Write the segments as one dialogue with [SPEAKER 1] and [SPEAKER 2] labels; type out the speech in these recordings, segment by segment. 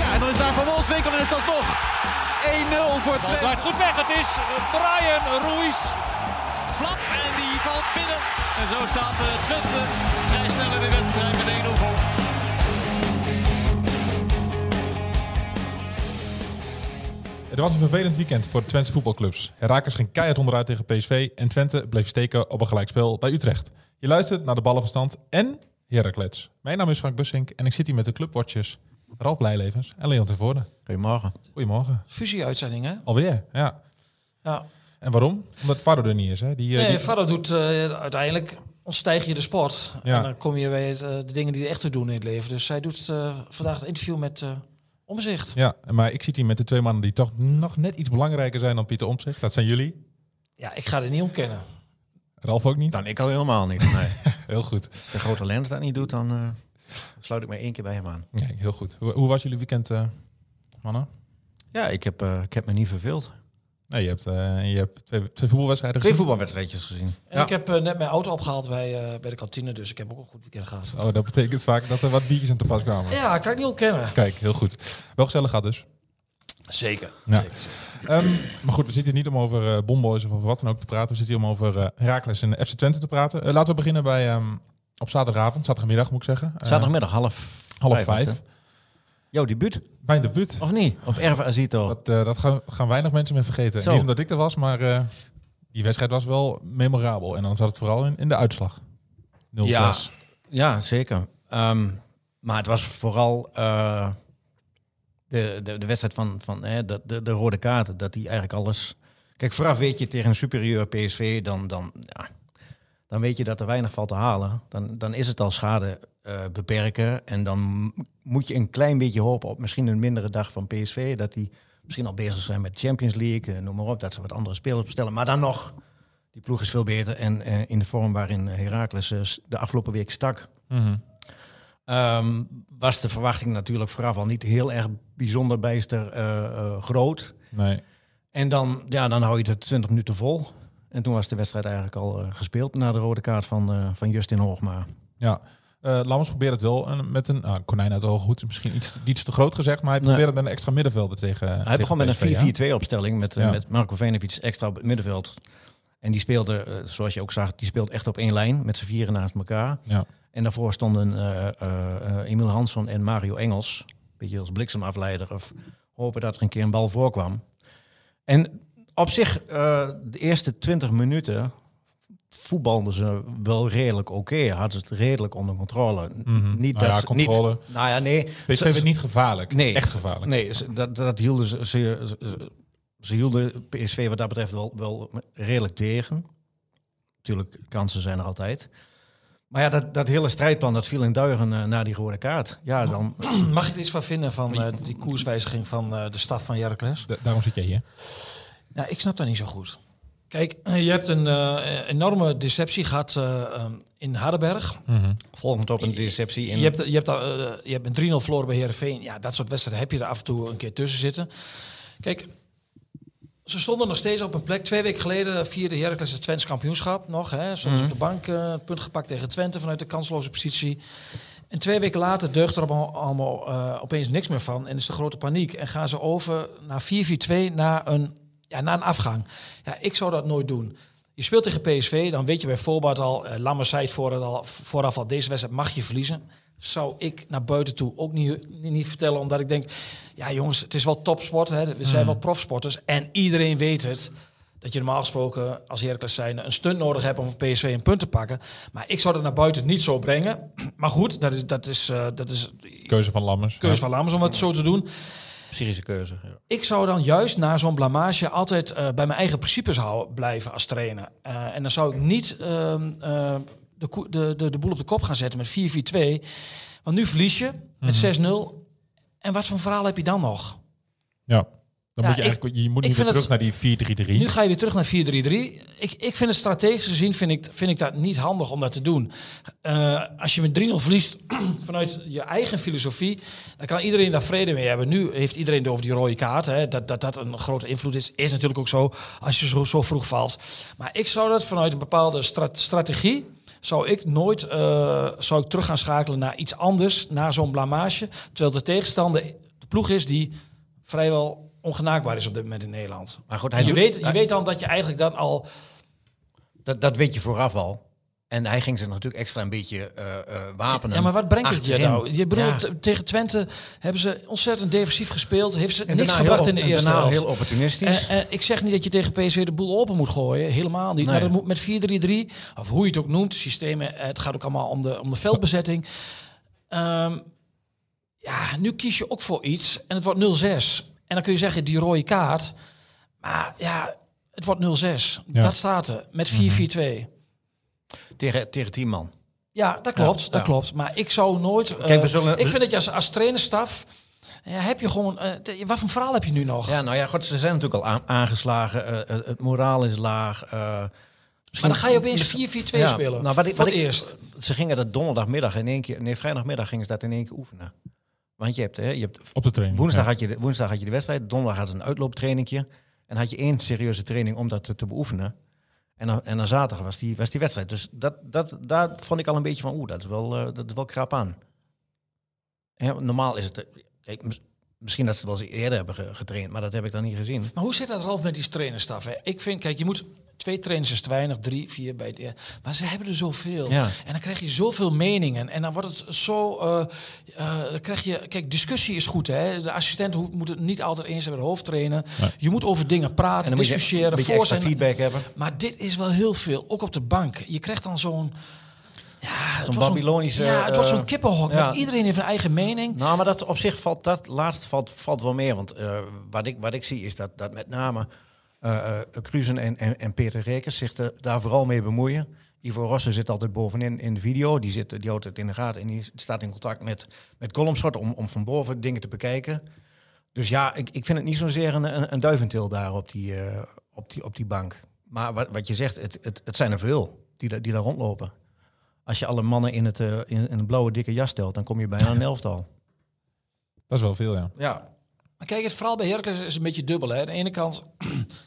[SPEAKER 1] Ja, en dan is daar Van Wolfswinkel en is dat nog 1-0 voor
[SPEAKER 2] Het
[SPEAKER 1] Twente.
[SPEAKER 2] gaat goed weg. Het is Brian Ruiz.
[SPEAKER 3] Flap en die valt binnen. En zo staat eh, Twente vrij snel in de wedstrijd met 1-0 voor.
[SPEAKER 4] Het was een vervelend weekend voor Twents voetbalclubs. Herakles ging keihard onderuit tegen PSV en Twente bleef steken op een gelijkspel bij Utrecht. Je luistert naar de ballenverstand en Heraklets. Mijn naam is Frank Bussink en ik zit hier met de clubwatchers Ralf Blijlevens en Leon Tervoorde.
[SPEAKER 2] Goedemorgen.
[SPEAKER 4] Goedemorgen.
[SPEAKER 5] Fusie-uitzending, hè?
[SPEAKER 4] Alweer, ja.
[SPEAKER 5] Ja.
[SPEAKER 4] En waarom? Omdat Faro er niet is, hè? Die, eh,
[SPEAKER 5] Nee,
[SPEAKER 4] die-
[SPEAKER 5] Faro doet eh, uiteindelijk ontstijg je de sport.
[SPEAKER 4] Ja.
[SPEAKER 5] En dan kom je bij het, eh, de dingen die er echt toe doen in het leven. Dus zij doet eh, vandaag het interview met eh Omzicht.
[SPEAKER 4] Ja, maar ik zit hier met de twee mannen die toch nog net iets belangrijker zijn dan Pieter Omtzigt. Dat zijn jullie.
[SPEAKER 5] Ja, ik ga dit niet ontkennen.
[SPEAKER 4] Ralf ook niet.
[SPEAKER 6] Dan ik al helemaal niet. Nee.
[SPEAKER 4] Heel goed.
[SPEAKER 6] Als de grote lens dat niet doet, dan eh, sluit ik me één keer bij hem aan.
[SPEAKER 4] Nee, heel goed. Hoe, hoe was jullie weekend, eh, mannen?
[SPEAKER 6] Ja, ik heb, eh, ik heb me niet verveeld.
[SPEAKER 4] Nee, je hebt, eh, je hebt twee, twee voetbalwedstrijden
[SPEAKER 6] Twee
[SPEAKER 4] gezien.
[SPEAKER 6] voetbalwedstrijdjes gezien.
[SPEAKER 5] En ik heb eh, net mijn auto opgehaald bij, eh, bij de kantine, dus ik heb ook een goed weekend gehad.
[SPEAKER 4] Oh, dat betekent vaak dat er wat biertjes aan te pas kwamen.
[SPEAKER 5] Ja, kan ik niet ontkennen.
[SPEAKER 4] Kijk, heel goed. Wel gezellig gaat dus.
[SPEAKER 5] Zeker.
[SPEAKER 4] Ja. Ehm, maar goed, we zitten hier niet om over eh Bomboys of over wat dan ook te praten. We zitten hier om over eh Heracles en FC Twente te praten. Eh, laten we beginnen bij ehm, op zaterdagavond, zaterdagmiddag moet ik zeggen. Eh,
[SPEAKER 6] Zaterdagmiddag half,
[SPEAKER 4] half
[SPEAKER 6] was het,
[SPEAKER 4] vijf.
[SPEAKER 6] hè? Jouw debuut,
[SPEAKER 4] Mijn debuut.
[SPEAKER 6] of niet? Op Erve Azito.
[SPEAKER 4] Dat, eh, dat gaan, gaan weinig mensen meer vergeten.
[SPEAKER 6] Zo.
[SPEAKER 4] Niet omdat ik er was, maar eh, die wedstrijd was wel memorabel. En dan zat het vooral in, in de uitslag. 0-6.
[SPEAKER 6] Ja. Ja, zeker. Ehm, maar het was vooral eh, de, de, de wedstrijd van, van hè, de, de, de rode kaarten. Dat die eigenlijk alles... Kijk, vooraf weet je tegen een superieur PSV, dan, dan, ja, dan weet je dat er weinig valt te halen. Dan, dan is het al schade eh, beperken. En dan m- moet je een klein beetje hopen op misschien een mindere dag van PSV. Dat die misschien al bezig zijn met Champions League, eh, noem maar op. Dat ze wat andere spelers bestellen. Maar dan nog, die ploeg is veel beter. En eh, in de vorm waarin Heracles eh, s- de afgelopen week stak...
[SPEAKER 4] Mhm.
[SPEAKER 6] Ehm, was de verwachting natuurlijk vooraf al niet heel erg bijzonder bijster eh, eh, groot.
[SPEAKER 4] Nee.
[SPEAKER 6] En dan, ja, dan hou je het 20 minuten vol. En toen was de wedstrijd eigenlijk al eh, gespeeld na de rode kaart van, eh, van Justin Hoogma.
[SPEAKER 4] Ja. Eh Lammers probeert het wel een- met een ah, konijn uit al goed. Misschien iets, te- iets te groot gezegd, maar hij
[SPEAKER 6] Nee.
[SPEAKER 4] probeert het met een extra middenvelder tegen.
[SPEAKER 6] Hij begon met een 4-4-2 opstelling met, eh,
[SPEAKER 4] Ja.
[SPEAKER 6] met Marco Venovic extra op het middenveld. En die speelde, eh, zoals je ook zag, die speelt echt op één lijn met z'n vieren naast elkaar.
[SPEAKER 4] Ja.
[SPEAKER 6] En daarvoor stonden eh, eh, eh, Emiel Hansson en Mario Engels. Een beetje als bliksemafleider. Of hopen dat er een keer een bal voorkwam. En op zich, eh, de eerste 20 minuten voetbalden ze wel redelijk oké. Hadden ze het redelijk onder controle.
[SPEAKER 4] Mhm.
[SPEAKER 6] Niet
[SPEAKER 4] Nou
[SPEAKER 6] dat
[SPEAKER 4] ja,
[SPEAKER 6] ze-
[SPEAKER 4] controle.
[SPEAKER 6] Niet, nou ja, nee.
[SPEAKER 4] PSV werd niet gevaarlijk.
[SPEAKER 6] Nee.
[SPEAKER 4] Echt gevaarlijk.
[SPEAKER 6] Nee,
[SPEAKER 5] eh,
[SPEAKER 6] ze- dat, dat hielden ze, ze, ze- ze hielden PSV wat dat betreft wel, wel redelijk tegen. Natuurlijk, kansen zijn er altijd. Maar ja, dat, dat hele strijdplan dat viel in duigen eh, na die rode kaart. Ja, dan,
[SPEAKER 5] Mag ik er iets van vinden van eh, die koerswijziging van eh, de staf van Heracles?
[SPEAKER 4] Da- daarom zit jij hier.
[SPEAKER 5] Nou, ik snap dat niet zo goed. Kijk, eh, je hebt een eh, enorme deceptie gehad eh, ehm, in Hardenberg.
[SPEAKER 4] Mhm.
[SPEAKER 6] volgend op een deceptie. In,
[SPEAKER 5] Eh, Je hebt, je hebt, daar, eh, je hebt een 3-0 verloren bij Heerenveen. Ja, dat soort wedstrijden heb je er af en toe een keer tussen zitten. Kijk, ze stonden nog steeds op een plek. Twee weken geleden vierde Heracles het Twents kampioenschap nog. Hè. Soms op de bank eh, het punt gepakt tegen Twente vanuit de kansloze positie. En twee weken later deugt er allemaal, allemaal eh, opeens niks meer van. En is de grote paniek. En gaan ze over naar 4-4-2, naar een, ja, naar een afgang. Ja, ik zou dat nooit doen. Je speelt tegen PSV, dan weet je bij voorbaat al... eh Lammers zei het vooraf al, vooraf al, deze wedstrijd mag je verliezen. Zou ik naar buiten toe ook niet, niet, niet vertellen. Omdat ik denk, ja jongens, het is wel topsport. Hè? We zijn wel profsporters. En iedereen weet het. Dat je normaal gesproken als Heracles zijn een stunt nodig hebt om van PSV een punt te pakken. Maar ik zou dat naar buiten niet zo brengen. Maar goed, dat is, dat is, eh, dat is
[SPEAKER 4] Keuze van Lammers.
[SPEAKER 5] keuze
[SPEAKER 4] Ja.
[SPEAKER 5] van Lammers om het zo te doen.
[SPEAKER 6] Syrische keuze. ja.
[SPEAKER 5] Ik zou dan juist na zo'n blamage altijd eh, bij mijn eigen principes houden, blijven als trainer. Eh, en dan zou ik niet ehm, eh, de, koe- de, de, de boel op de kop gaan zetten met 4-4-2. Want nu verlies je met 6-0. En wat voor verhaal heb je dan nog?
[SPEAKER 4] Ja. Dan
[SPEAKER 5] Ja,
[SPEAKER 4] moet je
[SPEAKER 5] ik-
[SPEAKER 4] eigenlijk je moet nu
[SPEAKER 5] ik
[SPEAKER 4] weer
[SPEAKER 5] vind
[SPEAKER 4] terug
[SPEAKER 5] het-
[SPEAKER 4] naar die 4-3-3.
[SPEAKER 5] Nu ga je weer terug naar 4-3-3. Ik, ik vind het strategisch gezien vind ik, vind ik dat niet handig om dat te doen. Eh, als je met 3-0 verliest vanuit je eigen filosofie, dan kan iedereen daar vrede mee hebben. Nu heeft iedereen het over die rode kaart. Hè. Dat, dat dat een grote invloed is, is natuurlijk ook zo als je zo, zo vroeg valt. Maar ik zou dat vanuit een bepaalde stra- strategie. Zou ik nooit eh, zou ik terug gaan schakelen naar iets anders, naar zo'n blamage. Terwijl de tegenstander de ploeg is die vrijwel ongenaakbaar is op dit moment in Nederland.
[SPEAKER 6] Maar goed, hij
[SPEAKER 5] Je
[SPEAKER 6] doet-
[SPEAKER 5] weet, je
[SPEAKER 6] hij-
[SPEAKER 5] weet dan dat je eigenlijk dan al...
[SPEAKER 6] Dat, dat weet je vooraf al. En hij ging zich natuurlijk extra een beetje eh, eh, wapenen.
[SPEAKER 5] Ja, maar wat brengt het je
[SPEAKER 6] achterin.
[SPEAKER 5] nou? Je bedoelt,
[SPEAKER 6] Ja.
[SPEAKER 5] t- tegen Twente hebben ze ontzettend defensief gespeeld. Heeft ze
[SPEAKER 6] En
[SPEAKER 5] niks
[SPEAKER 6] daarna
[SPEAKER 5] gebracht
[SPEAKER 6] heel-
[SPEAKER 5] in de
[SPEAKER 6] en
[SPEAKER 5] eerste Eh,
[SPEAKER 6] daarna
[SPEAKER 5] helft.
[SPEAKER 6] heel opportunistisch.
[SPEAKER 5] En, en ik zeg niet dat je tegen PSV de boel open moet gooien. Helemaal niet. Maar
[SPEAKER 6] Nee.
[SPEAKER 5] dat moet met 4-3-3, of hoe je het ook noemt, systemen. eh, Het gaat ook allemaal om de, om de veldbezetting. Ehm, ja, nu kies je ook voor iets en het wordt 0-6. En dan kun je zeggen, die rode kaart. Maar ja, het wordt 0-6.
[SPEAKER 4] Ja.
[SPEAKER 5] Dat staat er,
[SPEAKER 6] Mhm.
[SPEAKER 5] met 4-4-2. eh,
[SPEAKER 6] tegen, tegen tien man.
[SPEAKER 5] Ja, dat klopt.
[SPEAKER 6] Ja,
[SPEAKER 5] dat
[SPEAKER 6] ja.
[SPEAKER 5] klopt. Maar ik zou nooit. eh,
[SPEAKER 6] Kijk, we zullen-
[SPEAKER 5] ik vind dat je als, als trainerstaf. eh, heb je gewoon. eh, de- wat voor verhaal heb je nu nog?
[SPEAKER 6] Ja, nou ja, god, ze zijn natuurlijk al aan- aangeslagen. eh, eh, het moraal is laag. eh,
[SPEAKER 5] maar dan ga je opeens 4-4-2
[SPEAKER 6] ja,
[SPEAKER 5] spelen.
[SPEAKER 6] nou,
[SPEAKER 5] voor het eerst.
[SPEAKER 6] Ze gingen dat donderdagmiddag in één keer... Nee, vrijdagmiddag gingen ze dat in één keer oefenen. Want je hebt, hè, je hebt
[SPEAKER 4] Op de training.
[SPEAKER 6] Woensdag,
[SPEAKER 4] ja.
[SPEAKER 6] had je de, woensdag had je de wedstrijd, donderdag had ze een uitlooptrainingje. En had je één serieuze training om dat te, te beoefenen. En dan, en dan zaterdag was die, was die wedstrijd. Dus dat, dat, daar vond ik al een beetje van, oeh, dat, is wel, eh, dat is wel krap aan. Hè, want normaal is het... eh, Kijk, mis- misschien dat ze het wel eens eerder hebben ge- getraind, maar dat heb ik dan niet gezien.
[SPEAKER 5] Maar hoe zit dat Ralf met die trainerstaf? Hè? Ik vind, kijk, je moet. Twee trainers is te weinig, drie, vier bij het. eer- Maar ze hebben er zoveel.
[SPEAKER 6] Ja.
[SPEAKER 5] En dan krijg je zoveel meningen. En dan wordt het zo. eh, eh, dan krijg je. Kijk, discussie is goed. Hè? De assistent ho- moet het niet altijd eens zijn met de hoofdtrainer. Je moet over dingen
[SPEAKER 6] En
[SPEAKER 5] praten,
[SPEAKER 6] dan moet je een
[SPEAKER 5] discussiëren,
[SPEAKER 6] beetje
[SPEAKER 5] voor
[SPEAKER 6] extra
[SPEAKER 5] zijn.
[SPEAKER 6] feedback hebben.
[SPEAKER 5] Maar dit is wel heel veel, ook op de bank. Je krijgt dan zo'n... Ja, het wordt
[SPEAKER 6] Babylonische,
[SPEAKER 5] Ja, het wordt
[SPEAKER 6] eh,
[SPEAKER 5] zo'n kippenhok.
[SPEAKER 6] ja.
[SPEAKER 5] Met iedereen heeft een eigen mening.
[SPEAKER 6] Nou, maar dat op zich valt dat laatst valt, valt wel meer. Want eh, wat, ik, wat ik zie is dat, dat met name eh eh, Cruzen en, en, en Peter Rekers zich er- daar vooral mee bemoeien. Ivo Rossen zit altijd bovenin in de video. Die, zit, die houdt het in de gaten en die staat in contact met, met Columnschot om, om van boven dingen te bekijken. Dus ja, ik, ik vind het niet zozeer een, een, een duiventil daar op die, eh, op die, op die bank. Maar wat, wat je zegt, het, het, het zijn er veel die, daar- die daar rondlopen. Als je alle mannen in, het, eh, in, in een blauwe dikke jas stelt, dan kom je bijna een elftal.
[SPEAKER 4] Dat is wel veel, ja.
[SPEAKER 6] Ja,
[SPEAKER 5] Maar kijk, het verhaal bij Heracles is een beetje dubbel. Hè. Aan de ene kant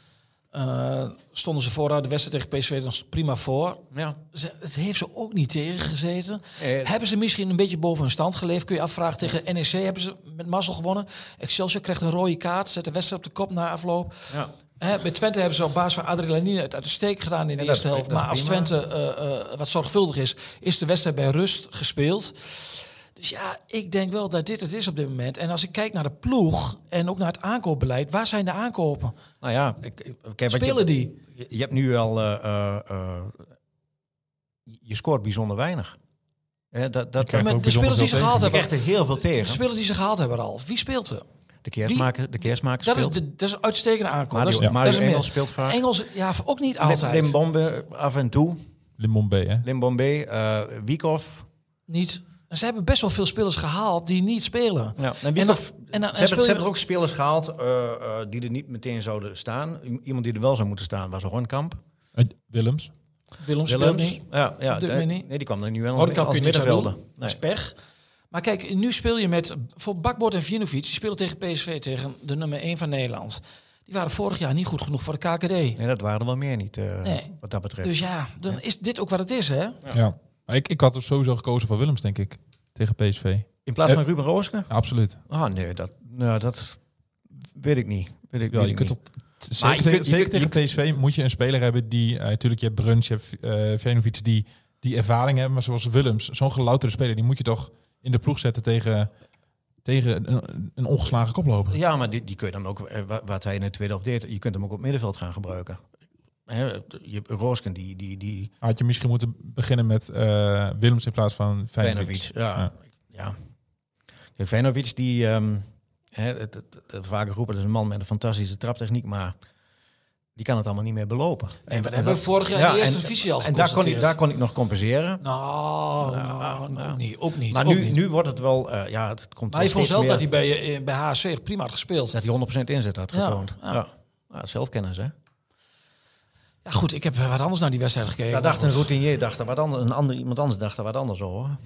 [SPEAKER 5] eh, stonden ze vooruit de wedstrijd tegen PSV nog prima voor.
[SPEAKER 6] ja.
[SPEAKER 5] Ze, het heeft ze ook niet tegengezeten.
[SPEAKER 6] Eh,
[SPEAKER 5] hebben ze misschien een beetje boven hun stand geleefd? Kun je afvragen. Tegen NEC hebben ze met mazzel gewonnen. Excelsior krijgt een rode kaart. Zet de wedstrijd op de kop na afloop.
[SPEAKER 6] ja.
[SPEAKER 5] Hè, bij Twente hebben ze op basis van adrenaline het uit de steek gedaan in de
[SPEAKER 6] dat
[SPEAKER 5] eerste
[SPEAKER 6] is-
[SPEAKER 5] helft.
[SPEAKER 6] dat is
[SPEAKER 5] Maar als
[SPEAKER 6] prima.
[SPEAKER 5] Twente eh, eh, wat zorgvuldig is, is de wedstrijd bij rust gespeeld. Dus ja, ik denk wel dat dit het is op dit moment. En als ik kijk naar de ploeg en ook naar het aankoopbeleid, waar zijn de aankopen?
[SPEAKER 6] Nou ja, ik, ik- kijk, wat
[SPEAKER 5] Spelen
[SPEAKER 6] je,
[SPEAKER 5] die?
[SPEAKER 6] je- Je hebt nu al... eh, eh, eh, je scoort bijzonder weinig. Hè, dat, dat,
[SPEAKER 4] krijgt
[SPEAKER 5] Met
[SPEAKER 4] ook
[SPEAKER 5] de
[SPEAKER 4] bijzonder
[SPEAKER 5] spelers die ze
[SPEAKER 4] veel
[SPEAKER 5] gehaald
[SPEAKER 6] je
[SPEAKER 5] hebben.
[SPEAKER 6] krijgt er heel veel
[SPEAKER 5] De
[SPEAKER 6] tegen.
[SPEAKER 5] spelers die ze gehaald hebben al. Wie speelt ze?
[SPEAKER 6] De kerstmaker, de kerstmaker
[SPEAKER 5] Dat is,
[SPEAKER 6] speelt.
[SPEAKER 5] de, dat is een uitstekende aankoop.
[SPEAKER 6] Mario-
[SPEAKER 5] dat is,
[SPEAKER 6] ja. Mario
[SPEAKER 5] dat is een
[SPEAKER 6] Engels
[SPEAKER 5] meer.
[SPEAKER 6] speelt vaak.
[SPEAKER 5] Engels, ja, ook niet
[SPEAKER 6] Lim-
[SPEAKER 5] altijd.
[SPEAKER 6] Limbombe af en toe.
[SPEAKER 4] Limbombe, hè?
[SPEAKER 6] Limbombe, eh Wiekoff.
[SPEAKER 5] niet. En Ze hebben best wel veel spelers gehaald die niet spelen. En
[SPEAKER 6] Ja, en
[SPEAKER 5] dan-
[SPEAKER 6] Wiekoff-
[SPEAKER 5] en dan- en
[SPEAKER 6] ze, hebben,
[SPEAKER 5] speel
[SPEAKER 6] ze
[SPEAKER 5] je-
[SPEAKER 6] hebben er ook spelers gehaald eh, eh, die er niet meteen zouden staan. I- Iemand die er wel zou moeten staan was Hornkamp.
[SPEAKER 4] Eh, Willems.
[SPEAKER 5] Willem speelt niet.
[SPEAKER 6] Ja, ja,
[SPEAKER 5] Op dit
[SPEAKER 6] de-
[SPEAKER 5] moment niet.
[SPEAKER 6] nee, die kwam er nu wel
[SPEAKER 5] Houtkamp
[SPEAKER 6] als
[SPEAKER 5] kun je niks aan
[SPEAKER 6] middenvelder.
[SPEAKER 5] doen. Dat
[SPEAKER 6] Nee.
[SPEAKER 5] is pech. Maar kijk, nu speel je met... Voor Bakbord en Vinovic, die spelen tegen PSV, tegen de nummer 1 van Nederland. Die waren vorig jaar niet goed genoeg voor de KKD.
[SPEAKER 6] nee, dat waren er wel meer niet eh,
[SPEAKER 5] Nee.
[SPEAKER 6] wat dat betreft.
[SPEAKER 5] Dus ja, dan is dit ook wat het is, hè?
[SPEAKER 4] Ja. Maar ik, ik had er sowieso gekozen voor Willems, denk ik. Tegen PSV.
[SPEAKER 6] In plaats
[SPEAKER 5] Eh,
[SPEAKER 6] van Ruben Rooske?
[SPEAKER 4] Ja, absoluut.
[SPEAKER 6] Ah, nee, dat, nou, dat weet ik niet. Weet ik,
[SPEAKER 4] Ja,
[SPEAKER 6] weet
[SPEAKER 4] je
[SPEAKER 6] ik
[SPEAKER 4] kunt
[SPEAKER 6] niet.
[SPEAKER 4] tot, zeker,
[SPEAKER 6] je
[SPEAKER 4] tegen-
[SPEAKER 6] kunt- je
[SPEAKER 4] zeker
[SPEAKER 6] kunt- je
[SPEAKER 4] tegen PSV moet je een speler hebben die... eh, Natuurlijk, je hebt Bruns, je hebt eh Venovic die, die ervaring hebben. Maar zoals Willems, zo'n gelouterde speler... die moet je toch in de ploeg zetten tegen, tegen een, een ongeslagen koploper.
[SPEAKER 6] Ja, maar die, die kun je dan ook, eh, wa- wat hij in het tweede half deed, je kunt hem ook op middenveld gaan gebruiken. Hè, je, Roosken, die, die, die
[SPEAKER 4] Had je misschien moeten beginnen met eh, Willems in plaats van
[SPEAKER 6] Venovic,
[SPEAKER 4] Venovic.
[SPEAKER 6] ja. ja. Kijk, Venovic, die, ehm, hè, het, het, het- vaak roepen, dat is een man met een fantastische traptechniek, maar die kan het allemaal niet meer belopen. En,
[SPEAKER 5] dat hebben we vorig jaar in de eerste divisie al
[SPEAKER 6] En daar kon, ik,
[SPEAKER 5] geconstateerd.
[SPEAKER 6] daar kon ik nog compenseren.
[SPEAKER 5] Nou, nou, ook niet, ook niet.
[SPEAKER 6] maar
[SPEAKER 5] ook
[SPEAKER 6] nu,
[SPEAKER 5] niet.
[SPEAKER 6] nu wordt het wel... eh, ja, het het komt
[SPEAKER 5] Maar
[SPEAKER 6] wel
[SPEAKER 5] hij vond
[SPEAKER 6] steeds
[SPEAKER 5] zelf dat hij
[SPEAKER 6] meer-
[SPEAKER 5] bij, eh, bij HC echt prima had gespeeld.
[SPEAKER 6] dat hij 100% inzet had
[SPEAKER 5] Ja,
[SPEAKER 6] getoond. Ja,
[SPEAKER 5] ja.
[SPEAKER 6] Ja, zelfkennis, hè?
[SPEAKER 5] Ja, goed, ik heb eh, wat anders naar die wedstrijd gekeken.
[SPEAKER 6] Daar dacht een
[SPEAKER 5] Maar goed.
[SPEAKER 6] routinier, dacht er wat anders, een ander, iemand anders dacht er wat anders over.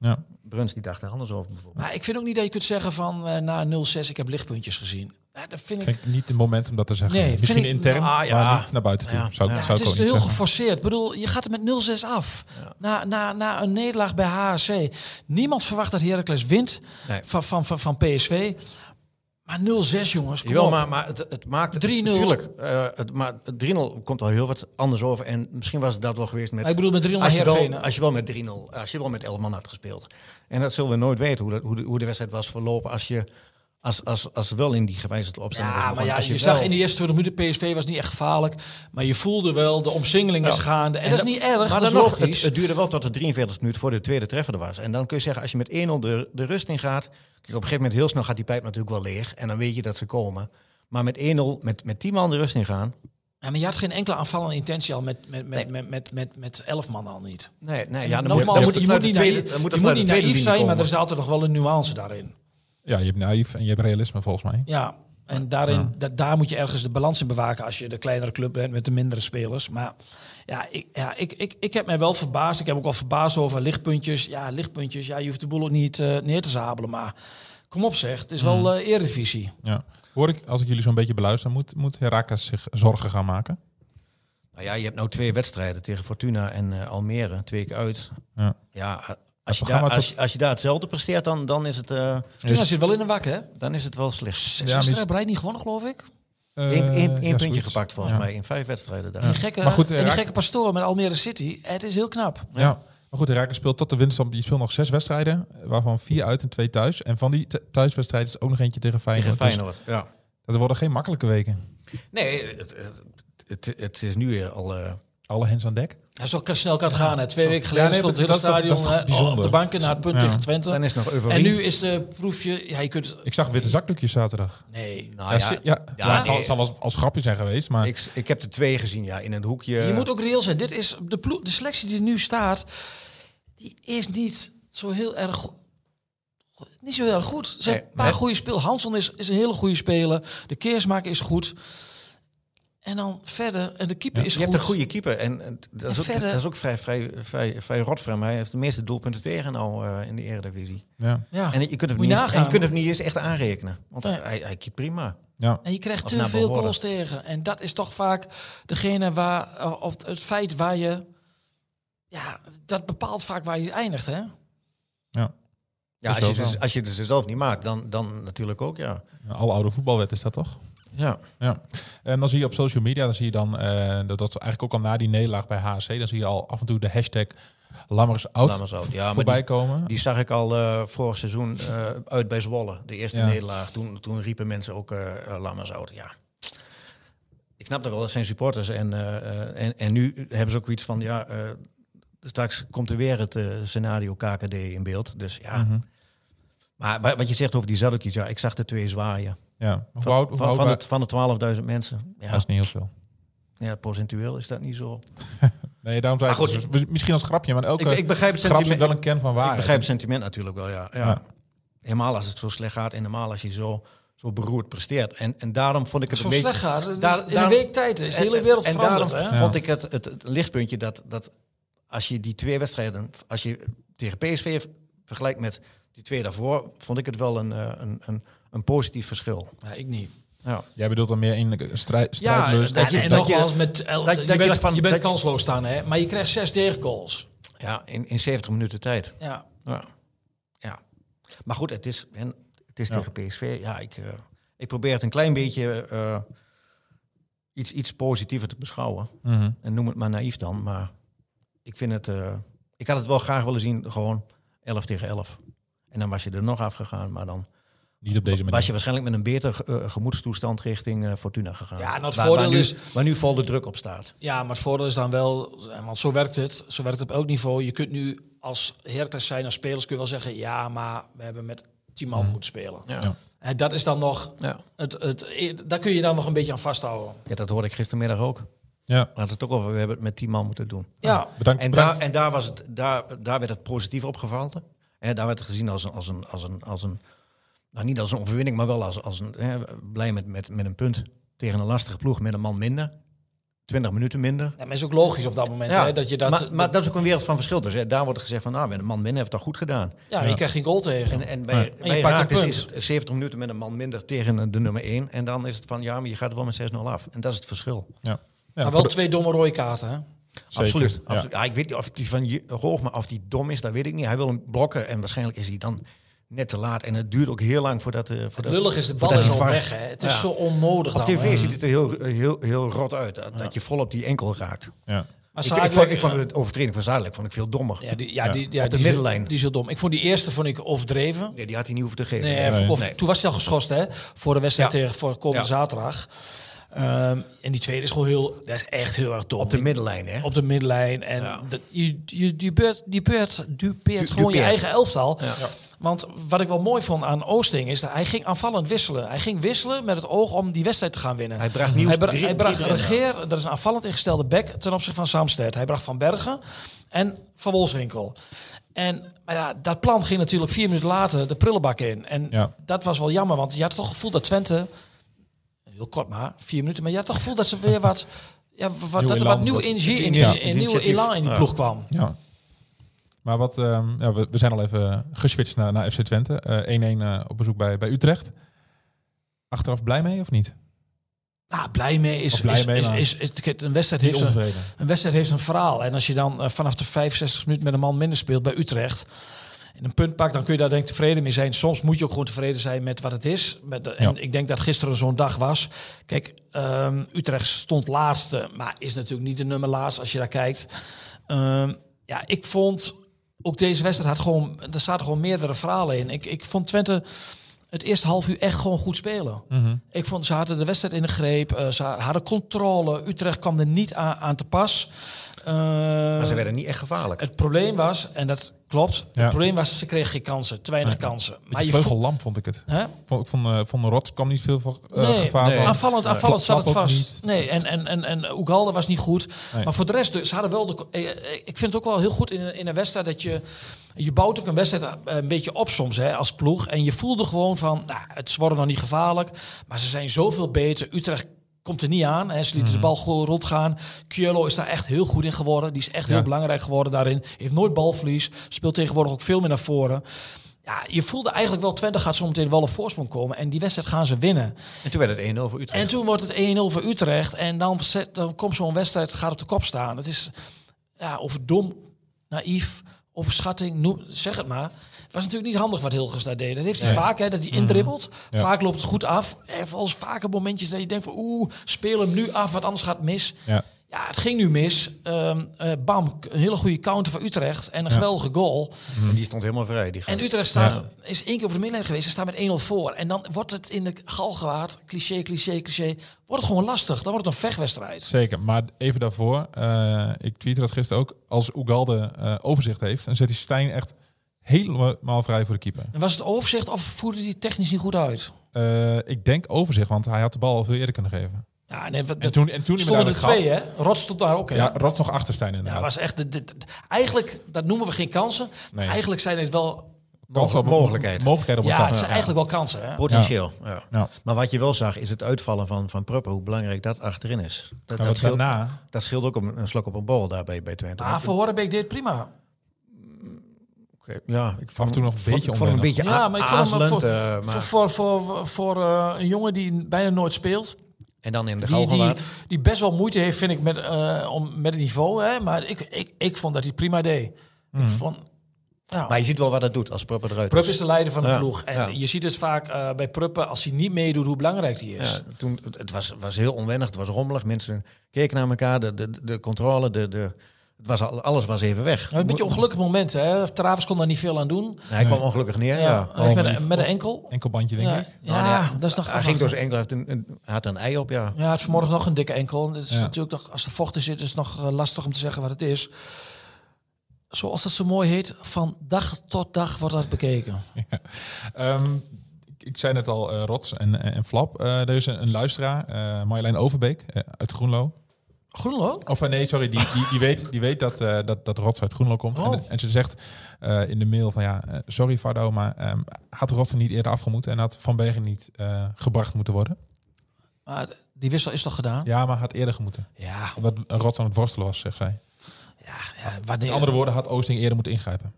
[SPEAKER 4] Ja.
[SPEAKER 6] Bruns die dacht er anders over bijvoorbeeld.
[SPEAKER 5] Maar ik vind ook niet dat je kunt zeggen van eh, na 0-6, ik heb lichtpuntjes gezien. Nou, dat vind ik...
[SPEAKER 4] Vind ik niet het moment om dat te zeggen.
[SPEAKER 5] Nee,
[SPEAKER 4] Misschien
[SPEAKER 5] vind ik-
[SPEAKER 4] intern,
[SPEAKER 6] Ah, ja.
[SPEAKER 4] maar niet naar buiten toe.
[SPEAKER 6] Ja.
[SPEAKER 4] Zou, ik-
[SPEAKER 5] Ja,
[SPEAKER 4] zou
[SPEAKER 5] het
[SPEAKER 4] ik
[SPEAKER 5] is
[SPEAKER 4] wel
[SPEAKER 5] heel
[SPEAKER 4] iets zeggen.
[SPEAKER 5] geforceerd. Ik bedoel, je gaat het met 0-6 af. Na, na, na een nederlaag bij HAC. Niemand verwacht dat Heracles wint
[SPEAKER 6] Nee.
[SPEAKER 5] van, van, van, van PSV. Maar 0-6, jongens. kom
[SPEAKER 6] Jawel,
[SPEAKER 5] op.
[SPEAKER 6] maar, maar het, het maakt...
[SPEAKER 5] 3-0.
[SPEAKER 6] Tuurlijk, eh, het, maar het 3-0 komt al heel wat anders over. En misschien was het dat wel geweest met...
[SPEAKER 5] Maar ik bedoel met 3-0
[SPEAKER 6] als je,
[SPEAKER 5] Heerenveen,
[SPEAKER 6] wel,
[SPEAKER 5] hè?
[SPEAKER 6] als je wel met 3-0, als je wel met 11 man had gespeeld. En dat zullen we nooit weten, hoe, dat, hoe, de, hoe de wedstrijd was verlopen als je... Als, als, als wel in die gewijzigde opstelling was
[SPEAKER 5] Ja, maar
[SPEAKER 6] begonnen.
[SPEAKER 5] ja,
[SPEAKER 6] Als
[SPEAKER 5] je,
[SPEAKER 6] wel-
[SPEAKER 5] zag in de eerste 20 minuten PSV was niet echt gevaarlijk. Maar je voelde wel, de omsingeling is gaande. En, dat is niet erg, maar dat is
[SPEAKER 6] dan nog,
[SPEAKER 5] logisch.
[SPEAKER 6] Het, het duurde wel tot de 43 minuut voor de tweede treffer er was. En dan kun je zeggen, als je met 1-0 de, de rust in gaat... Kijk, op een gegeven moment heel snel gaat die pijp natuurlijk wel leeg. En dan weet je dat ze komen. Maar met 1-0, met, met 10 man de rust in gaan...
[SPEAKER 5] Ja, maar je had geen enkele aanvallende intentie al met, met, met, met, met, met, met elf man al niet.
[SPEAKER 6] Nee, nee, ja, dan moet,
[SPEAKER 5] Nogmaals,
[SPEAKER 6] dan moet
[SPEAKER 5] je
[SPEAKER 6] het
[SPEAKER 5] moet
[SPEAKER 6] vanuit de
[SPEAKER 5] niet
[SPEAKER 6] tweede-
[SPEAKER 5] naïef-
[SPEAKER 6] dan moet
[SPEAKER 5] je
[SPEAKER 6] het
[SPEAKER 5] moet
[SPEAKER 6] vanuit
[SPEAKER 5] niet
[SPEAKER 6] de tweede
[SPEAKER 5] naïef
[SPEAKER 6] linie
[SPEAKER 5] zijn, maar
[SPEAKER 6] komen.
[SPEAKER 5] er is altijd nog wel een nuance daarin.
[SPEAKER 4] Ja, je hebt naïef en je hebt realisme volgens mij.
[SPEAKER 5] Ja,
[SPEAKER 4] Ah,
[SPEAKER 5] en daarin, da- daar moet je ergens de balans in bewaken als je de kleinere club bent met de mindere spelers. Maar ja, ik, ja, ik, ik, ik heb mij wel verbaasd. Ik heb ook al verbaasd over lichtpuntjes. Ja, lichtpuntjes. Ja, je hoeft de boel ook niet eh, neer te zabelen. Maar kom op zeg, het is
[SPEAKER 4] Mm.
[SPEAKER 5] wel eh, eredivisie.
[SPEAKER 4] Ja. Hoor ik, als ik jullie zo'n beetje beluister, moet, moet Herakles zich zorgen gaan maken?
[SPEAKER 6] Nou ja, je hebt nou twee wedstrijden tegen Fortuna en eh, Almere. Twee keer uit.
[SPEAKER 4] Ja.
[SPEAKER 6] Ja, eh, als je,
[SPEAKER 4] programma
[SPEAKER 6] daar,
[SPEAKER 4] tot-
[SPEAKER 6] als, je- als je daar hetzelfde presteert, dan, dan, is, het, eh,
[SPEAKER 5] Toen zit wel in een wak, hè?
[SPEAKER 6] dan is het wel slecht.
[SPEAKER 5] Zes
[SPEAKER 4] maar is-
[SPEAKER 5] wedstrijden breid niet gewonnen, geloof ik.
[SPEAKER 4] Eh,
[SPEAKER 6] Eén één-
[SPEAKER 4] ja,
[SPEAKER 6] één
[SPEAKER 4] zoiets.
[SPEAKER 6] puntje gepakt volgens
[SPEAKER 4] Ja.
[SPEAKER 6] mij in vijf wedstrijden daar.
[SPEAKER 5] En die gekke,
[SPEAKER 4] Maar goed,
[SPEAKER 5] en die
[SPEAKER 4] Herak-
[SPEAKER 5] gekke pastoor met Almere City. Het is heel knap.
[SPEAKER 4] Ja. Maar goed, Herakles speelt tot de winst. Die speelt nog zes wedstrijden, eh, waarvan vier uit en twee thuis. En van die th- thuiswedstrijden is ook nog eentje tegen Feyenoord.
[SPEAKER 6] Tegen
[SPEAKER 4] Dus
[SPEAKER 6] Feyenoord, ja.
[SPEAKER 4] dat worden geen makkelijke weken.
[SPEAKER 6] Nee, het, het, het, het is nu weer al. eh,
[SPEAKER 4] Alle hens aan dek.
[SPEAKER 5] Ja, zo kan- snel kan het gaan. Hè. Twee weken geleden
[SPEAKER 4] nee,
[SPEAKER 5] stond het hele
[SPEAKER 4] dat is
[SPEAKER 5] stadion
[SPEAKER 4] toch- dat is toch
[SPEAKER 5] hè, op
[SPEAKER 4] bijzonder?
[SPEAKER 5] de banken naar het punt
[SPEAKER 4] Ja.
[SPEAKER 5] tegen Twente.
[SPEAKER 6] dan is nog euforie.
[SPEAKER 5] en nu is de proefje... Ja, je kunt...
[SPEAKER 4] Ik zag witte zakdoekjes zaterdag.
[SPEAKER 5] Nee,
[SPEAKER 6] Nou ja,
[SPEAKER 4] ja, ja,
[SPEAKER 6] ja,
[SPEAKER 4] ja, het zal,
[SPEAKER 6] nee.
[SPEAKER 4] zal als, als grapje zijn geweest, maar
[SPEAKER 6] ik, ik heb er twee gezien, ja, in een hoekje.
[SPEAKER 5] Je moet ook reëel zijn. Dit is de, ploeg- de selectie die er nu staat, die is niet zo heel erg go- go- niet zo heel erg goed. Er zijn
[SPEAKER 6] Nee,
[SPEAKER 5] een paar
[SPEAKER 6] nee.
[SPEAKER 5] goede spelers. Hanson is, is een hele goede speler. De keersmaker is goed. En dan verder. En de keeper
[SPEAKER 4] Ja,
[SPEAKER 5] is
[SPEAKER 6] je
[SPEAKER 5] goed.
[SPEAKER 6] hebt een goede keeper. En, en t- dat, is
[SPEAKER 5] En
[SPEAKER 6] ook,
[SPEAKER 5] verder-
[SPEAKER 6] dat is ook vrij, vrij, vrij, vrij rot voor hem. Hij heeft de meeste doelpunten tegen nou, eh, in de Eredivisie.
[SPEAKER 4] ja,
[SPEAKER 5] Ja.
[SPEAKER 6] En je kunt het
[SPEAKER 5] Ah, Moet
[SPEAKER 6] niet,
[SPEAKER 5] je
[SPEAKER 6] eens- en
[SPEAKER 5] nagaan.
[SPEAKER 6] je kunt het niet eens echt aanrekenen. Want
[SPEAKER 5] Nee.
[SPEAKER 6] hij, hij keept prima.
[SPEAKER 4] ja.
[SPEAKER 5] En je krijgt
[SPEAKER 6] Of
[SPEAKER 5] te
[SPEAKER 6] naar
[SPEAKER 5] veel
[SPEAKER 6] behoren.
[SPEAKER 5] goals tegen. En dat is toch vaak degene waar, eh, of het feit waar je, ja, dat bepaalt vaak waar je eindigt, hè?
[SPEAKER 6] Ja,
[SPEAKER 4] Is
[SPEAKER 6] als je,
[SPEAKER 4] wel
[SPEAKER 6] het
[SPEAKER 4] zo.
[SPEAKER 6] dus, als je het dus zelf niet maakt, dan, dan natuurlijk ook, ja.
[SPEAKER 4] Alle oude voetbalwet is dat toch?
[SPEAKER 6] ja.
[SPEAKER 4] Ja. En dan zie je op social media, dan zie je dan, eh, dat was eigenlijk ook al na die nederlaag bij HC, dan zie je al af en toe de hashtag Lammers out,
[SPEAKER 6] Lammers out, ja, maar
[SPEAKER 4] voorbij
[SPEAKER 6] die-
[SPEAKER 4] komen.
[SPEAKER 6] Die zag ik al eh, vorig seizoen eh, uit bij Zwolle. De eerste
[SPEAKER 4] Ja.
[SPEAKER 6] nederlaag. Toen, toen riepen mensen ook eh eh, Lammers out. Ja. Ik snap dat wel, dat zijn supporters. En, eh, eh, en, en nu hebben ze ook iets van... ja eh, Straks komt er weer het eh, scenario KKD in beeld. Dus ja.
[SPEAKER 4] Mhm.
[SPEAKER 6] Maar wa- wat je zegt over die Zadokjes, ja, ik zag de twee zwaaien.
[SPEAKER 4] Ja, hoe
[SPEAKER 6] Van,
[SPEAKER 4] oud, hoe
[SPEAKER 6] van,
[SPEAKER 4] oud
[SPEAKER 6] van,
[SPEAKER 4] wa-
[SPEAKER 6] het, van de 12.000 mensen.
[SPEAKER 4] Ja,
[SPEAKER 6] Ja,
[SPEAKER 4] is niet heel veel.
[SPEAKER 6] ja, procentueel is dat niet zo.
[SPEAKER 4] Nee, daarom zei ik,
[SPEAKER 6] Maar goed,
[SPEAKER 4] dus we- misschien als grapje, maar elke
[SPEAKER 6] Ik, ik begrijp het
[SPEAKER 4] grap zit
[SPEAKER 6] sentiment-
[SPEAKER 4] wel een kern van waarheid. Dus
[SPEAKER 6] Ik begrijp het sentiment natuurlijk wel, ja. ja.
[SPEAKER 4] Ja.
[SPEAKER 6] Helemaal als het zo slecht gaat en helemaal als je zo, zo beroerd presteert. En, en daarom vond ik het
[SPEAKER 5] Zo
[SPEAKER 6] een beetje...
[SPEAKER 5] slecht gaat. het.
[SPEAKER 6] daar-
[SPEAKER 5] in
[SPEAKER 6] daarom-
[SPEAKER 5] een week tijd is de hele
[SPEAKER 6] en-
[SPEAKER 5] wereld
[SPEAKER 6] en
[SPEAKER 5] veranderd,
[SPEAKER 6] daarom
[SPEAKER 5] hè?
[SPEAKER 6] vond ik het, het, het lichtpuntje dat, dat als je die twee wedstrijden... Als je tegen PSV vergelijkt met die twee daarvoor... vond ik het wel een, eh, een, een, een positief verschil.
[SPEAKER 5] Ja, ik niet.
[SPEAKER 6] Ja.
[SPEAKER 4] Jij bedoelt dan meer in de strijd, strijdlust.
[SPEAKER 6] dat
[SPEAKER 4] dat
[SPEAKER 5] en,
[SPEAKER 6] je-
[SPEAKER 5] en
[SPEAKER 6] dat
[SPEAKER 5] nogmaals, met el-
[SPEAKER 6] dat-
[SPEAKER 5] je,
[SPEAKER 6] dat je
[SPEAKER 5] bent,
[SPEAKER 6] ervan-
[SPEAKER 5] je bent
[SPEAKER 6] dat je-
[SPEAKER 5] kansloos staan, hè? maar je krijgt zes tegengoals.
[SPEAKER 6] Ja, in, in 70 minuten tijd.
[SPEAKER 5] Ja.
[SPEAKER 6] Ja. ja. Maar goed, het is, en het is
[SPEAKER 4] Ja.
[SPEAKER 6] tegen PSV. Ja, ik, eh, ik probeer het een klein beetje eh, iets, iets positiever te beschouwen.
[SPEAKER 4] Mhm.
[SPEAKER 6] En noem het maar naïef dan. Maar ik vind het... eh, ik had het wel graag willen zien, gewoon 11 tegen 11. En dan was je er nog afgegaan, maar dan
[SPEAKER 4] Niet op deze manier.
[SPEAKER 6] was je waarschijnlijk met een beter eh, gemoedstoestand richting eh, Fortuna gegaan.
[SPEAKER 5] Ja, nou, het
[SPEAKER 6] Waar-
[SPEAKER 5] voordeel
[SPEAKER 6] waar nu,
[SPEAKER 5] is-
[SPEAKER 6] Waar nu vol de druk op staat.
[SPEAKER 5] ja, maar het voordeel is dan wel, want zo werkt het, zo werkt het op elk niveau. Je kunt nu als Heracles zijn, als spelers kun je wel zeggen, ja, maar we hebben met tien man moet spelen.
[SPEAKER 6] Ja.
[SPEAKER 4] Ja.
[SPEAKER 5] En dat is dan nog,
[SPEAKER 6] Ja.
[SPEAKER 5] het, het, daar kun je dan nog een beetje aan vasthouden.
[SPEAKER 6] Ja, dat hoorde ik gistermiddag ook.
[SPEAKER 4] Ja.
[SPEAKER 6] Laten we het ook over, we hebben het met 10 man moeten doen.
[SPEAKER 5] Ja,
[SPEAKER 4] Bedankt.
[SPEAKER 6] En,
[SPEAKER 4] bedankt.
[SPEAKER 6] daar, en daar, was het, daar, daar werd het positief opgevallen. Hè, daar werd het gezien als een, als een, als een, als een nou, niet als een overwinning, maar wel als, als een, hè, blij met, met, met een punt tegen een lastige ploeg met een man minder. 20 minuten minder.
[SPEAKER 5] Ja, maar is ook logisch op dat moment hè, dat je dat...
[SPEAKER 6] maar, maar dat is ook een wereld van verschil. Dus hè, daar wordt gezegd van, nou, met een man minder hebben we het toch goed gedaan.
[SPEAKER 5] ja, je krijgt geen goal tegen.
[SPEAKER 6] En, en bij, bij
[SPEAKER 5] En je pakt
[SPEAKER 6] Heracles
[SPEAKER 5] een punt.
[SPEAKER 6] is het 70 minuten met een man minder tegen de nummer 1. En dan is het van, ja, maar je gaat er wel met 6-0 af. En dat is het verschil.
[SPEAKER 4] ja. Ja,
[SPEAKER 5] maar
[SPEAKER 4] voor
[SPEAKER 5] wel
[SPEAKER 4] de-
[SPEAKER 5] twee domme rode kaarten. Hè?
[SPEAKER 4] Zeker,
[SPEAKER 6] Ah, Absoluut.
[SPEAKER 4] ja.
[SPEAKER 6] absoluut. Ja. ik weet niet of die van Je- Hoogma of die dom is, dat weet ik niet. Hij wil hem blokken en waarschijnlijk is hij dan net te laat. En het duurt ook heel lang voordat... eh
[SPEAKER 5] Het
[SPEAKER 6] voordat
[SPEAKER 5] lullig is, de bal
[SPEAKER 6] voordat
[SPEAKER 5] is
[SPEAKER 6] de
[SPEAKER 5] al
[SPEAKER 6] VAR
[SPEAKER 5] weg. Hè? Het is
[SPEAKER 6] Ja.
[SPEAKER 5] zo onnodig
[SPEAKER 6] Op
[SPEAKER 5] dan, hè.
[SPEAKER 6] tv ziet het er heel, heel, heel rot uit. Dat, dat je vol op die enkel raakt.
[SPEAKER 4] ja.
[SPEAKER 5] Maar
[SPEAKER 6] ik, ik,
[SPEAKER 5] Zadelijk,
[SPEAKER 6] vond, ik vond
[SPEAKER 5] eh,
[SPEAKER 6] het overtreding van Zadelijk vond ik veel dommer.
[SPEAKER 5] Ja, die, ja, die, ja,
[SPEAKER 6] Op de
[SPEAKER 5] die is-
[SPEAKER 6] middenlijn.
[SPEAKER 5] Die is heel dom. Ik vond die eerste vond ik overdreven.
[SPEAKER 6] Nee, die had hij niet hoeven te geven.
[SPEAKER 5] Nee,
[SPEAKER 4] Nee.
[SPEAKER 5] Of,
[SPEAKER 6] Nee.
[SPEAKER 5] Toen was hij al geschorst, hè? Voor de wedstrijd
[SPEAKER 6] Ja.
[SPEAKER 5] tegen voor komende
[SPEAKER 6] Ja.
[SPEAKER 5] zaterdag. Ehm, en die tweede is gewoon heel... Dat is echt heel erg dom.
[SPEAKER 6] Op de middenlijn, hè?
[SPEAKER 5] op de middenlijn. En dat, je, je dupeert, dupeert, dupeert
[SPEAKER 6] Du-
[SPEAKER 5] gewoon je
[SPEAKER 6] dupeert.
[SPEAKER 5] eigen elftal.
[SPEAKER 6] Ja.
[SPEAKER 5] Want wat ik wel mooi vond aan Oosting is dat hij ging aanvallend wisselen. Hij ging wisselen met het oog om die wedstrijd te gaan winnen.
[SPEAKER 6] Hij bracht nieuws.
[SPEAKER 5] Hij, bra- hij bracht Regeer, dat is een aanvallend ingestelde back ten opzichte van Samsted. Hij bracht Van Bergen en Van Wolfswinkel. En maar ja, dat plan ging natuurlijk vier minuten later de prullenbak in. En
[SPEAKER 4] Ja.
[SPEAKER 5] dat was wel jammer, want je had toch het gevoel dat Twente... Heel kort maar, vier minuten. Maar je had toch het gevoel dat ze weer wat... Ja, wat,
[SPEAKER 4] Nieuw
[SPEAKER 5] dat er
[SPEAKER 4] elan
[SPEAKER 5] wat nieuw
[SPEAKER 4] wordt-
[SPEAKER 5] energie in,
[SPEAKER 4] Ja.
[SPEAKER 5] die- een nieuwe elan in die
[SPEAKER 6] Ja.
[SPEAKER 5] ploeg kwam.
[SPEAKER 4] Ja. Maar wat, ehm, ja, we, we zijn al even geswitcht naar, naar FC Twente. Eh, 1-1 eh, op bezoek bij, bij Utrecht. Achteraf blij mee of niet?
[SPEAKER 5] Ah, blij mee is...
[SPEAKER 4] Of blij
[SPEAKER 5] is,
[SPEAKER 4] mee,
[SPEAKER 5] is,
[SPEAKER 4] maar-
[SPEAKER 5] is, is- eh, kijk, een, wedstrijd
[SPEAKER 4] Niet
[SPEAKER 5] heeft een,
[SPEAKER 4] ontevreden.
[SPEAKER 5] een wedstrijd heeft een verhaal. En als je dan eh, vanaf de 65 minuten met een man minder speelt bij Utrecht... en een punt pakt, dan kun je daar denk ik tevreden mee zijn. Soms moet je ook gewoon tevreden zijn met wat het is. Met de- en
[SPEAKER 4] Ja.
[SPEAKER 5] ik denk dat gisteren zo'n dag was. Kijk, ehm, Utrecht stond laatste, maar is natuurlijk niet de nummer laatst als je daar kijkt. Ehm, ja, ik vond... Ook deze wedstrijd had gewoon... Er zaten gewoon meerdere verhalen in. Ik, ik vond Twente het eerste half uur echt gewoon goed spelen. Ik vond ze hadden de wedstrijd in de greep, eh, ze hadden controle. Utrecht kwam er niet aan, aan te pas. Eh,
[SPEAKER 6] Maar ze werden niet echt gevaarlijk.
[SPEAKER 5] het probleem was, en dat klopt,
[SPEAKER 4] Ja.
[SPEAKER 5] het probleem was ze kregen geen kansen, te weinig kansen.
[SPEAKER 4] Maar
[SPEAKER 5] Maar je vond,
[SPEAKER 4] vleugellam vond ik het.
[SPEAKER 5] hè?
[SPEAKER 4] Vond, ik vond, eh, vond Rots kwam niet veel van, eh,
[SPEAKER 5] Nee,
[SPEAKER 4] gevaar
[SPEAKER 5] nee. Ah,
[SPEAKER 4] van.
[SPEAKER 5] aanvallend, aanvallend
[SPEAKER 4] Flap
[SPEAKER 5] zat het
[SPEAKER 4] ook
[SPEAKER 5] vast.
[SPEAKER 4] niet.
[SPEAKER 5] Nee, en, en, en, en Ugalde was niet goed.
[SPEAKER 4] Nee.
[SPEAKER 5] Maar voor de rest, dus, ze hadden wel de, eh, eh, ik vind het ook wel heel goed in, een- in een wedstrijd dat je... Je bouwt ook een wedstrijd eh, een beetje op soms hè, als ploeg. En je voelde gewoon van, nou, het ze worden nog niet gevaarlijk. Maar ze zijn zoveel beter. Utrecht komt er niet aan. Hè. Ze lieten
[SPEAKER 4] Mhm.
[SPEAKER 5] de bal gewoon rondgaan. Kielo is daar echt heel goed in geworden. Die is echt
[SPEAKER 4] Ja.
[SPEAKER 5] heel belangrijk geworden daarin. Heeft nooit balverlies. Speelt tegenwoordig ook veel meer naar voren. Ja, je voelde eigenlijk wel, Twente gaat zometeen wel op voorsprong komen. En die wedstrijd gaan ze winnen.
[SPEAKER 6] En toen werd het 1-0 voor Utrecht.
[SPEAKER 5] En toen wordt het 1-0 voor Utrecht. En dan, zet, dan komt zo'n wedstrijd, gaat op de kop staan. Het is ja, of dom, naïef, of schatting, noem, zeg het maar. Het was natuurlijk niet handig wat Hilgers daar deed. Dat heeft hij vaak, hè, dat hij indribbelt.
[SPEAKER 4] Ja.
[SPEAKER 5] Vaak loopt het goed af. En volgens vaker momentjes dat je denkt van... oeh, speel hem nu af, want anders gaat het mis.
[SPEAKER 4] Ja.
[SPEAKER 5] Ja, het ging nu mis. Ehm, eh, bam, een hele goede counter van Utrecht. En een geweldige goal.
[SPEAKER 6] En die stond helemaal vrij. Die
[SPEAKER 5] En
[SPEAKER 6] gast.
[SPEAKER 5] Utrecht staat, is één keer over de middenlijn geweest. Ze staan met 1-0 voor. En dan wordt het in de galgewaard, cliché, cliché, cliché, wordt het gewoon lastig. Dan wordt het een vechtwedstrijd.
[SPEAKER 4] Zeker, maar even daarvoor. eh, ik tweette dat gisteren ook. Als Ugalde eh, overzicht heeft, dan zet hij Stijn echt helemaal vrij voor de keeper.
[SPEAKER 5] En was het overzicht of voerde die technisch niet goed uit?
[SPEAKER 4] Eh, ik denk overzicht, want hij had de bal al veel eerder kunnen geven.
[SPEAKER 5] Ja, nee, wat,
[SPEAKER 4] En toen, en toen hij me
[SPEAKER 5] stonden er
[SPEAKER 4] duidelijk gaf...
[SPEAKER 5] twee, hè? Rot stond daar ook, hè?
[SPEAKER 4] Ja,
[SPEAKER 5] Ja.
[SPEAKER 4] Rots nog achter Stijn inderdaad.
[SPEAKER 5] was echt de, de- de- eigenlijk, dat noemen we geen kansen.
[SPEAKER 4] Nee.
[SPEAKER 5] Eigenlijk zijn het wel,
[SPEAKER 4] Kans op-
[SPEAKER 6] Mogelijkheid.
[SPEAKER 4] Mogelijkheid op
[SPEAKER 5] ja,
[SPEAKER 4] elkaar.
[SPEAKER 5] het zijn eigenlijk wel kansen. Hè?
[SPEAKER 6] Potentieel. Ja.
[SPEAKER 4] Ja.
[SPEAKER 6] Maar wat je wel zag is het uitvallen van, van Pruppen, hoe belangrijk dat achterin is. Dat,
[SPEAKER 4] Maar
[SPEAKER 6] dat,
[SPEAKER 4] wat
[SPEAKER 6] scheelt,
[SPEAKER 4] daarna...
[SPEAKER 6] dat scheelt ook een, een slok op een bol daarbij bij Twente.
[SPEAKER 5] Maar Ah, voor Horenbeek deed het prima.
[SPEAKER 6] Oké, ja, ik
[SPEAKER 4] Af en toe nog een
[SPEAKER 6] vond-
[SPEAKER 4] beetje
[SPEAKER 6] ik vond hem een beetje
[SPEAKER 5] Ja,
[SPEAKER 6] a-
[SPEAKER 5] maar ik vond hem
[SPEAKER 6] aarzelend,
[SPEAKER 5] voor-
[SPEAKER 6] eh, maar-
[SPEAKER 5] Voor, voor, voor, voor eh, een jongen die bijna nooit speelt.
[SPEAKER 6] En dan in de
[SPEAKER 5] die, die,
[SPEAKER 6] galgenwaard.
[SPEAKER 5] die best wel moeite heeft, vind ik, met, eh, om, met het niveau. Hè? Maar ik, ik, ik vond dat hij het prima deed. Ik vond, ja.
[SPEAKER 6] Mhm. Maar je ziet wel wat dat doet als Pruppen eruit
[SPEAKER 5] Prupp is
[SPEAKER 6] is.
[SPEAKER 5] de leider van de
[SPEAKER 6] Ja,
[SPEAKER 5] ploeg. En
[SPEAKER 6] ja.
[SPEAKER 5] je ziet het vaak eh, bij Pruppen, als hij niet meedoet, hoe belangrijk hij is.
[SPEAKER 6] Ja, toen, het- het was, was heel onwennig, het was rommelig. Mensen keken naar elkaar, de, de, de controle, de, de, het was, al- alles was even weg.
[SPEAKER 5] Nou, een beetje ongelukkig moment. Hè? Travis kon daar niet veel aan doen.
[SPEAKER 6] Nee, hij kwam ongelukkig neer,
[SPEAKER 5] Ja,
[SPEAKER 6] ja.
[SPEAKER 5] hij heeft met, een- met een enkel.
[SPEAKER 4] Enkelbandje, denk
[SPEAKER 5] ja,
[SPEAKER 4] ik.
[SPEAKER 5] ja,
[SPEAKER 6] Nou, nee,
[SPEAKER 5] dat is nog
[SPEAKER 6] Hij ging door zijn enkel, hij heeft een, een, had een ei op, ja.
[SPEAKER 5] Ja, het is vanmorgen nog een dikke enkel. En Het is
[SPEAKER 4] Ja.
[SPEAKER 5] natuurlijk nog, als er vocht in zit, is het nog eh, lastig om te zeggen wat het is. zoals dat zo mooi heet, van dag tot dag wordt dat bekeken.
[SPEAKER 4] Ehm, ik- ik zei net al, eh, Rots en, en, en Flap. Eh, er is een, een luisteraar, eh, Marjolein Overbeek eh, uit Groenlo.
[SPEAKER 5] Groenlo?
[SPEAKER 4] Of eh, nee, sorry, die, die, die, weet, die weet dat, eh, dat, dat Rots uit Groenlo komt.
[SPEAKER 5] Oh.
[SPEAKER 4] En, en ze zegt eh, in de mail van ja, eh, sorry Fardo, maar ehm, had Rots er niet eerder afgemoet en had Van Bergen niet eh, gebracht moeten worden?
[SPEAKER 5] Maar die wissel is toch gedaan?
[SPEAKER 4] Ja, maar had eerder gemoeten.
[SPEAKER 5] Ja,
[SPEAKER 4] Omdat Rots aan het worstelen was, zegt zij.
[SPEAKER 5] ja, ja, wanneer...
[SPEAKER 4] In andere woorden, had Oosting eerder moeten ingrijpen.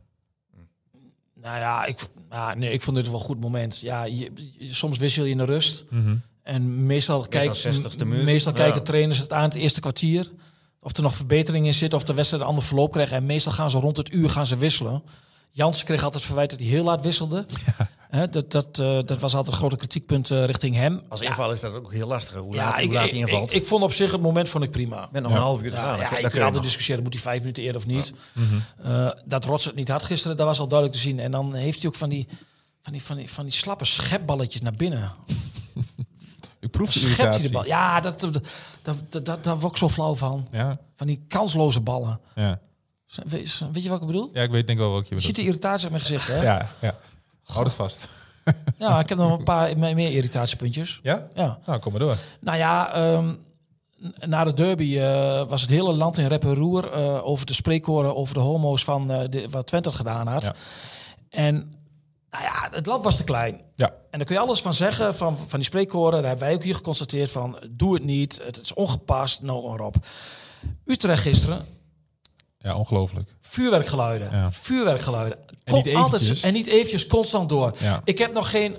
[SPEAKER 5] Nou ja, ik, v- ja, nee, ik vond dit wel een goed moment. Ja, je- je- soms wissel je in de rust. En meestal, kijkt-
[SPEAKER 6] 60ste
[SPEAKER 5] m-
[SPEAKER 6] minuut.
[SPEAKER 5] meestal
[SPEAKER 6] Ja.
[SPEAKER 5] kijken trainers het aan het eerste kwartier. Of er nog verbetering in zit, of de wedstrijd een ander verloop krijgt. En meestal gaan ze rond het uur gaan ze wisselen. Jansen kreeg altijd verwijt dat hij heel laat wisselde. Hè, dat, dat, eh, dat was altijd een grote kritiekpunt eh, richting hem.
[SPEAKER 6] Als
[SPEAKER 5] Ja,
[SPEAKER 6] inval is dat ook heel lastig. hè, Hoe
[SPEAKER 5] ja,
[SPEAKER 6] laat, hoe
[SPEAKER 5] ik,
[SPEAKER 6] laat
[SPEAKER 5] ik-
[SPEAKER 6] hij invalt.
[SPEAKER 5] Ik, ik vond op zich het moment vond ik prima.
[SPEAKER 6] Met nog een half uur te
[SPEAKER 5] Ja,
[SPEAKER 6] gaan.
[SPEAKER 5] ja,
[SPEAKER 6] dan kun-
[SPEAKER 5] je
[SPEAKER 6] dan kun
[SPEAKER 5] kan
[SPEAKER 6] je
[SPEAKER 5] altijd
[SPEAKER 6] nog.
[SPEAKER 5] discussiëren, moet hij vijf minuten eerder of niet. Eh, dat Rots het niet had gisteren, dat was al duidelijk te zien. En dan heeft hij ook van die, van die, van die, van die slappe schepballetjes naar binnen.
[SPEAKER 4] Ik proef de
[SPEAKER 5] Schept hij de
[SPEAKER 4] irritatie.
[SPEAKER 5] bal. Ja, dat, dat, dat, dat, dat, daar word ik zo flauw van.
[SPEAKER 4] Ja,
[SPEAKER 5] Van die kansloze ballen.
[SPEAKER 4] ja.
[SPEAKER 5] Weet, weet je wat ik bedoel?
[SPEAKER 4] ja, ik weet denk wel welke je
[SPEAKER 5] Je ziet
[SPEAKER 4] bedoelt.
[SPEAKER 5] de irritatie op mijn gezicht, hè? Ja,
[SPEAKER 4] Ja, ja. Houd het vast.
[SPEAKER 5] ik heb nog wel een paar me- meer irritatiepuntjes.
[SPEAKER 4] Ja?
[SPEAKER 5] Ja.
[SPEAKER 4] Nou, kom maar door.
[SPEAKER 5] Nou ja, ehm, n- na de derby eh, was het hele land in rep en roer eh, over de spreekkoren over de homo's van eh, de, wat Twente had gedaan had.
[SPEAKER 4] Ja.
[SPEAKER 5] En nou ja, het land was te klein.
[SPEAKER 4] Ja.
[SPEAKER 5] En daar kun je alles van zeggen, van, van die spreekkoren. Daar hebben wij ook hier geconstateerd van, doe het niet, het is ongepast, nou maar op. Utrecht gisteren,
[SPEAKER 4] Ja, ongelooflijk.
[SPEAKER 5] vuurwerkgeluiden,
[SPEAKER 4] Ja.
[SPEAKER 5] vuurwerkgeluiden.
[SPEAKER 4] En niet
[SPEAKER 5] Kon- altijd-
[SPEAKER 4] eventjes.
[SPEAKER 5] en niet eventjes, constant door.
[SPEAKER 4] Ja.
[SPEAKER 5] Ik heb nog geen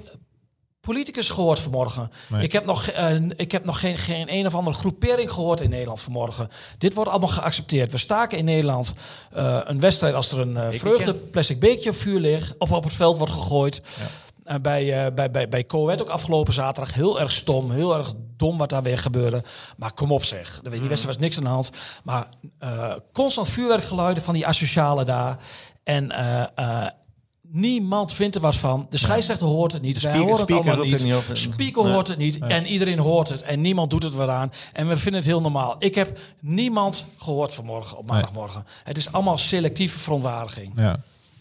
[SPEAKER 5] politicus gehoord vanmorgen.
[SPEAKER 4] Nee.
[SPEAKER 5] Ik heb nog, eh, ik heb nog geen, geen een of andere groepering gehoord in Nederland vanmorgen. Dit wordt allemaal geaccepteerd. We staken in Nederland eh, een wedstrijd als er een eh, vreugde vreugdeplastic beekje op vuur ligt... of op het veld wordt gegooid... Eh, bij, eh, bij, bij, bij Coët ook afgelopen zaterdag. Heel erg stom, heel erg dom wat daar weer gebeurde. Maar kom op zeg. Dan weet
[SPEAKER 4] Mm.
[SPEAKER 5] je, Die wedstrijd was niks aan de hand. Maar eh, constant vuurwerkgeluiden van die asocialen daar. En eh, eh, niemand vindt er wat van. De scheidsrechter hoort het niet. Wij
[SPEAKER 6] speaker-
[SPEAKER 5] horen het
[SPEAKER 6] speaker
[SPEAKER 5] allemaal
[SPEAKER 6] roept
[SPEAKER 5] niet.
[SPEAKER 6] er niet op.
[SPEAKER 5] Speaker hoort het niet. En iedereen hoort het. En niemand doet het wat aan. En we vinden het heel normaal. Ik heb niemand gehoord vanmorgen, op maandagmorgen. Het is allemaal selectieve verontwaardiging.
[SPEAKER 4] Ja.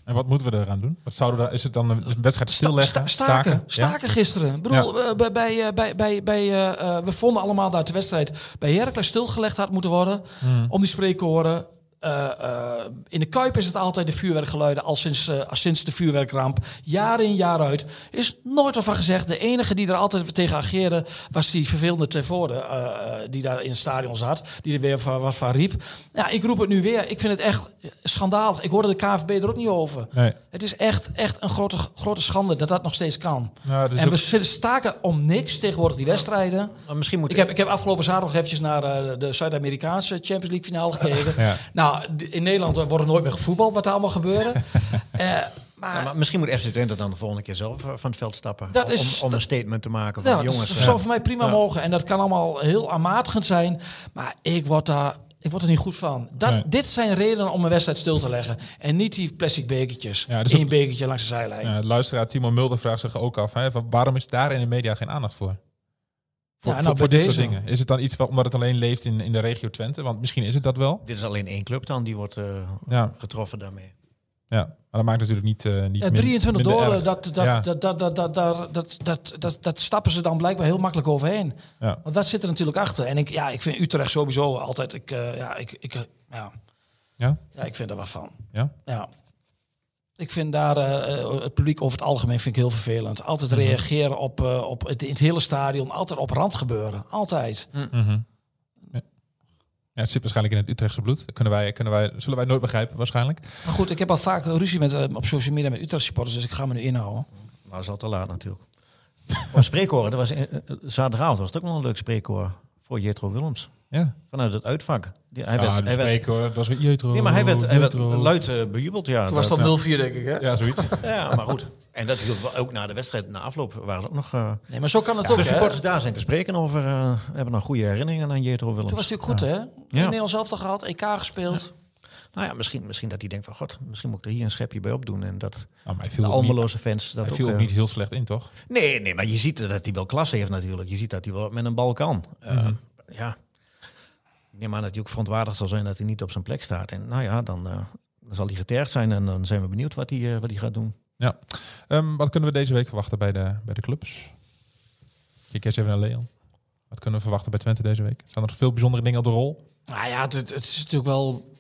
[SPEAKER 4] En wat moeten we eraan doen? Wat zouden we daar, is het dan een wedstrijd stilleggen?
[SPEAKER 5] Sta- sta- staken. Staken gisteren. Ik bedoel, eh, bij, bij, eh, bij, bij, bij, eh, eh, we vonden allemaal dat de wedstrijd bij Heracles stilgelegd had moeten worden. Om die spreekkoren. Eh, eh, in de Kuip is het altijd de vuurwerkgeluiden al sinds, eh, al sinds de vuurwerkramp. Jaar in, jaar uit. Is nooit wat van gezegd. De enige die er altijd tegen ageerde was die vervelende Tervoorde. eh, eh, die daar in het stadion zat. Die er weer van, wat van riep. Ja, ik roep het nu weer. Ik vind het echt schandalig. Ik hoorde de KVB er ook niet over.
[SPEAKER 4] Ja. Nee.
[SPEAKER 5] Het is echt, echt een grote, grote schande dat dat nog steeds kan.
[SPEAKER 4] Nou, dus
[SPEAKER 5] en
[SPEAKER 4] ook-
[SPEAKER 5] we zitten staken om niks tegenwoordig die wedstrijden.
[SPEAKER 6] Maar misschien moet
[SPEAKER 5] Ik heb, ik heb afgelopen zaterdag eventjes naar eh, de Zuid-Amerikaanse Champions League finale gekeken.
[SPEAKER 4] Ja.
[SPEAKER 5] Nou, d- in Nederland eh, wordt er nooit meer gevoetbald wat er allemaal gebeurde. Eh, maar,
[SPEAKER 6] Ja, maar misschien moet FC Twente dan de volgende keer zelf eh, van het veld stappen.
[SPEAKER 5] Dat
[SPEAKER 6] om,
[SPEAKER 5] is-
[SPEAKER 6] om een statement te maken van
[SPEAKER 5] ja,
[SPEAKER 6] jongens.
[SPEAKER 5] dat dus-
[SPEAKER 6] eh,
[SPEAKER 5] zou voor mij prima mogen. En dat kan allemaal heel aanmatigend zijn. Maar ik word daar... Ik word er niet goed van. Dat,
[SPEAKER 4] Nee.
[SPEAKER 5] Dit zijn redenen om een wedstrijd stil te leggen. En niet die plastic bekertjes.
[SPEAKER 4] Ja, dat is
[SPEAKER 5] Eén
[SPEAKER 4] ook-
[SPEAKER 5] bekertje langs de zijlijn.
[SPEAKER 4] Ja, luisteraar Timo Mulder vraagt zich ook af, hè, van waarom is daar in de media geen aandacht voor? Voor,
[SPEAKER 5] nou,
[SPEAKER 4] voor,
[SPEAKER 5] bij
[SPEAKER 4] voor dit soort
[SPEAKER 5] deze.
[SPEAKER 4] dingen. Is het dan iets wat, omdat het alleen leeft in, in de regio Twente? Want misschien is het dat wel.
[SPEAKER 6] eh, Dit is alleen één club dan die wordt eh,
[SPEAKER 4] Ja,
[SPEAKER 6] getroffen daarmee.
[SPEAKER 4] ja. maar dat maakt natuurlijk niet, eh niet
[SPEAKER 5] Ja,
[SPEAKER 4] min-
[SPEAKER 5] 23
[SPEAKER 4] minder
[SPEAKER 5] dollar,
[SPEAKER 4] erg.
[SPEAKER 5] dat, dat,
[SPEAKER 4] Ja.
[SPEAKER 5] dat, dat, dat, dat, dat, dat, dat, dat, dat stappen ze dan blijkbaar heel makkelijk overheen.
[SPEAKER 4] Ja.
[SPEAKER 5] Want dat zit er natuurlijk achter. En ik, ja, ik vind Utrecht sowieso altijd... Ik, eh, ja, ik, ik, eh, ja.
[SPEAKER 4] Ja?
[SPEAKER 5] ja, ik vind er wat van.
[SPEAKER 4] Ja?
[SPEAKER 5] Ja. Ik vind daar eh, eh, het publiek over het algemeen vind ik heel vervelend. Altijd reageren op, eh, op het, in het hele stadion. Altijd op rand gebeuren. Altijd.
[SPEAKER 4] Mhm. Ja. Ja, het zit waarschijnlijk in het Utrechtse bloed. Dat Kunnen wij, kunnen wij, zullen wij nooit begrijpen, waarschijnlijk.
[SPEAKER 5] Maar goed, ik heb al vaak ruzie met, eh, op social media met Utrecht supporters. Dus ik ga me nu inhouden.
[SPEAKER 6] Maar dat is al te laat natuurlijk. Maar spreekkoren, dat was, eh, eh, zaterdagavond was het ook nog een leuk spreekkoor voor Jetro Willems.
[SPEAKER 4] Ja,
[SPEAKER 6] Vanuit het uitvak. Die- hij
[SPEAKER 4] hij
[SPEAKER 6] werd, hij werd,
[SPEAKER 4] hoor. Dat was weer Jetro.
[SPEAKER 6] nee, maar hij werd, hij werd
[SPEAKER 4] Jetro.
[SPEAKER 6] luid eh, bejubeld. Ja,
[SPEAKER 5] Toen was
[SPEAKER 6] dat,
[SPEAKER 5] het al 0-4 denk ik, hè?
[SPEAKER 4] Ja, zoiets. Ah,
[SPEAKER 6] ja, maar goed. En dat hield wel ook na de wedstrijd, na afloop, waren ze ook nog... eh,
[SPEAKER 5] Nee, maar zo kan het
[SPEAKER 6] de
[SPEAKER 5] ook, hè?
[SPEAKER 6] supporters daar zijn te spreken over, eh, hebben nog goede herinneringen aan Jetro Willems.
[SPEAKER 5] Toen was het natuurlijk goed, hè? In
[SPEAKER 6] Ja.
[SPEAKER 5] Nederland zelf gehad, EK gespeeld.
[SPEAKER 6] Nou ja, misschien, misschien dat hij denkt van, god, misschien moet ik er hier een schepje bij opdoen. En dat
[SPEAKER 4] Nou, maar hij viel,
[SPEAKER 6] de
[SPEAKER 4] ook niet,
[SPEAKER 6] Almeloze fans dat
[SPEAKER 4] hij
[SPEAKER 6] ook...
[SPEAKER 4] viel ook
[SPEAKER 6] eh,
[SPEAKER 4] niet heel slecht in, toch?
[SPEAKER 6] Nee, nee, maar je ziet dat hij wel klasse heeft natuurlijk. Je ziet dat hij wel met een bal kan. Eh,
[SPEAKER 4] Mhm.
[SPEAKER 6] Ja. Ik neem aan dat hij ook verontwaardigd zal zijn dat hij niet op zijn plek staat. En nou ja, dan eh, dan zal hij getergd zijn en dan zijn we benieuwd wat hij, eh, wat hij gaat doen.
[SPEAKER 4] Ja. Ehm, wat kunnen we deze week verwachten bij de, bij de clubs? Kijk eerst even naar Leon. Wat kunnen we verwachten bij Twente deze week? Zijn er nog veel bijzondere dingen op de rol?
[SPEAKER 5] Nou ja, het, het- het is natuurlijk wel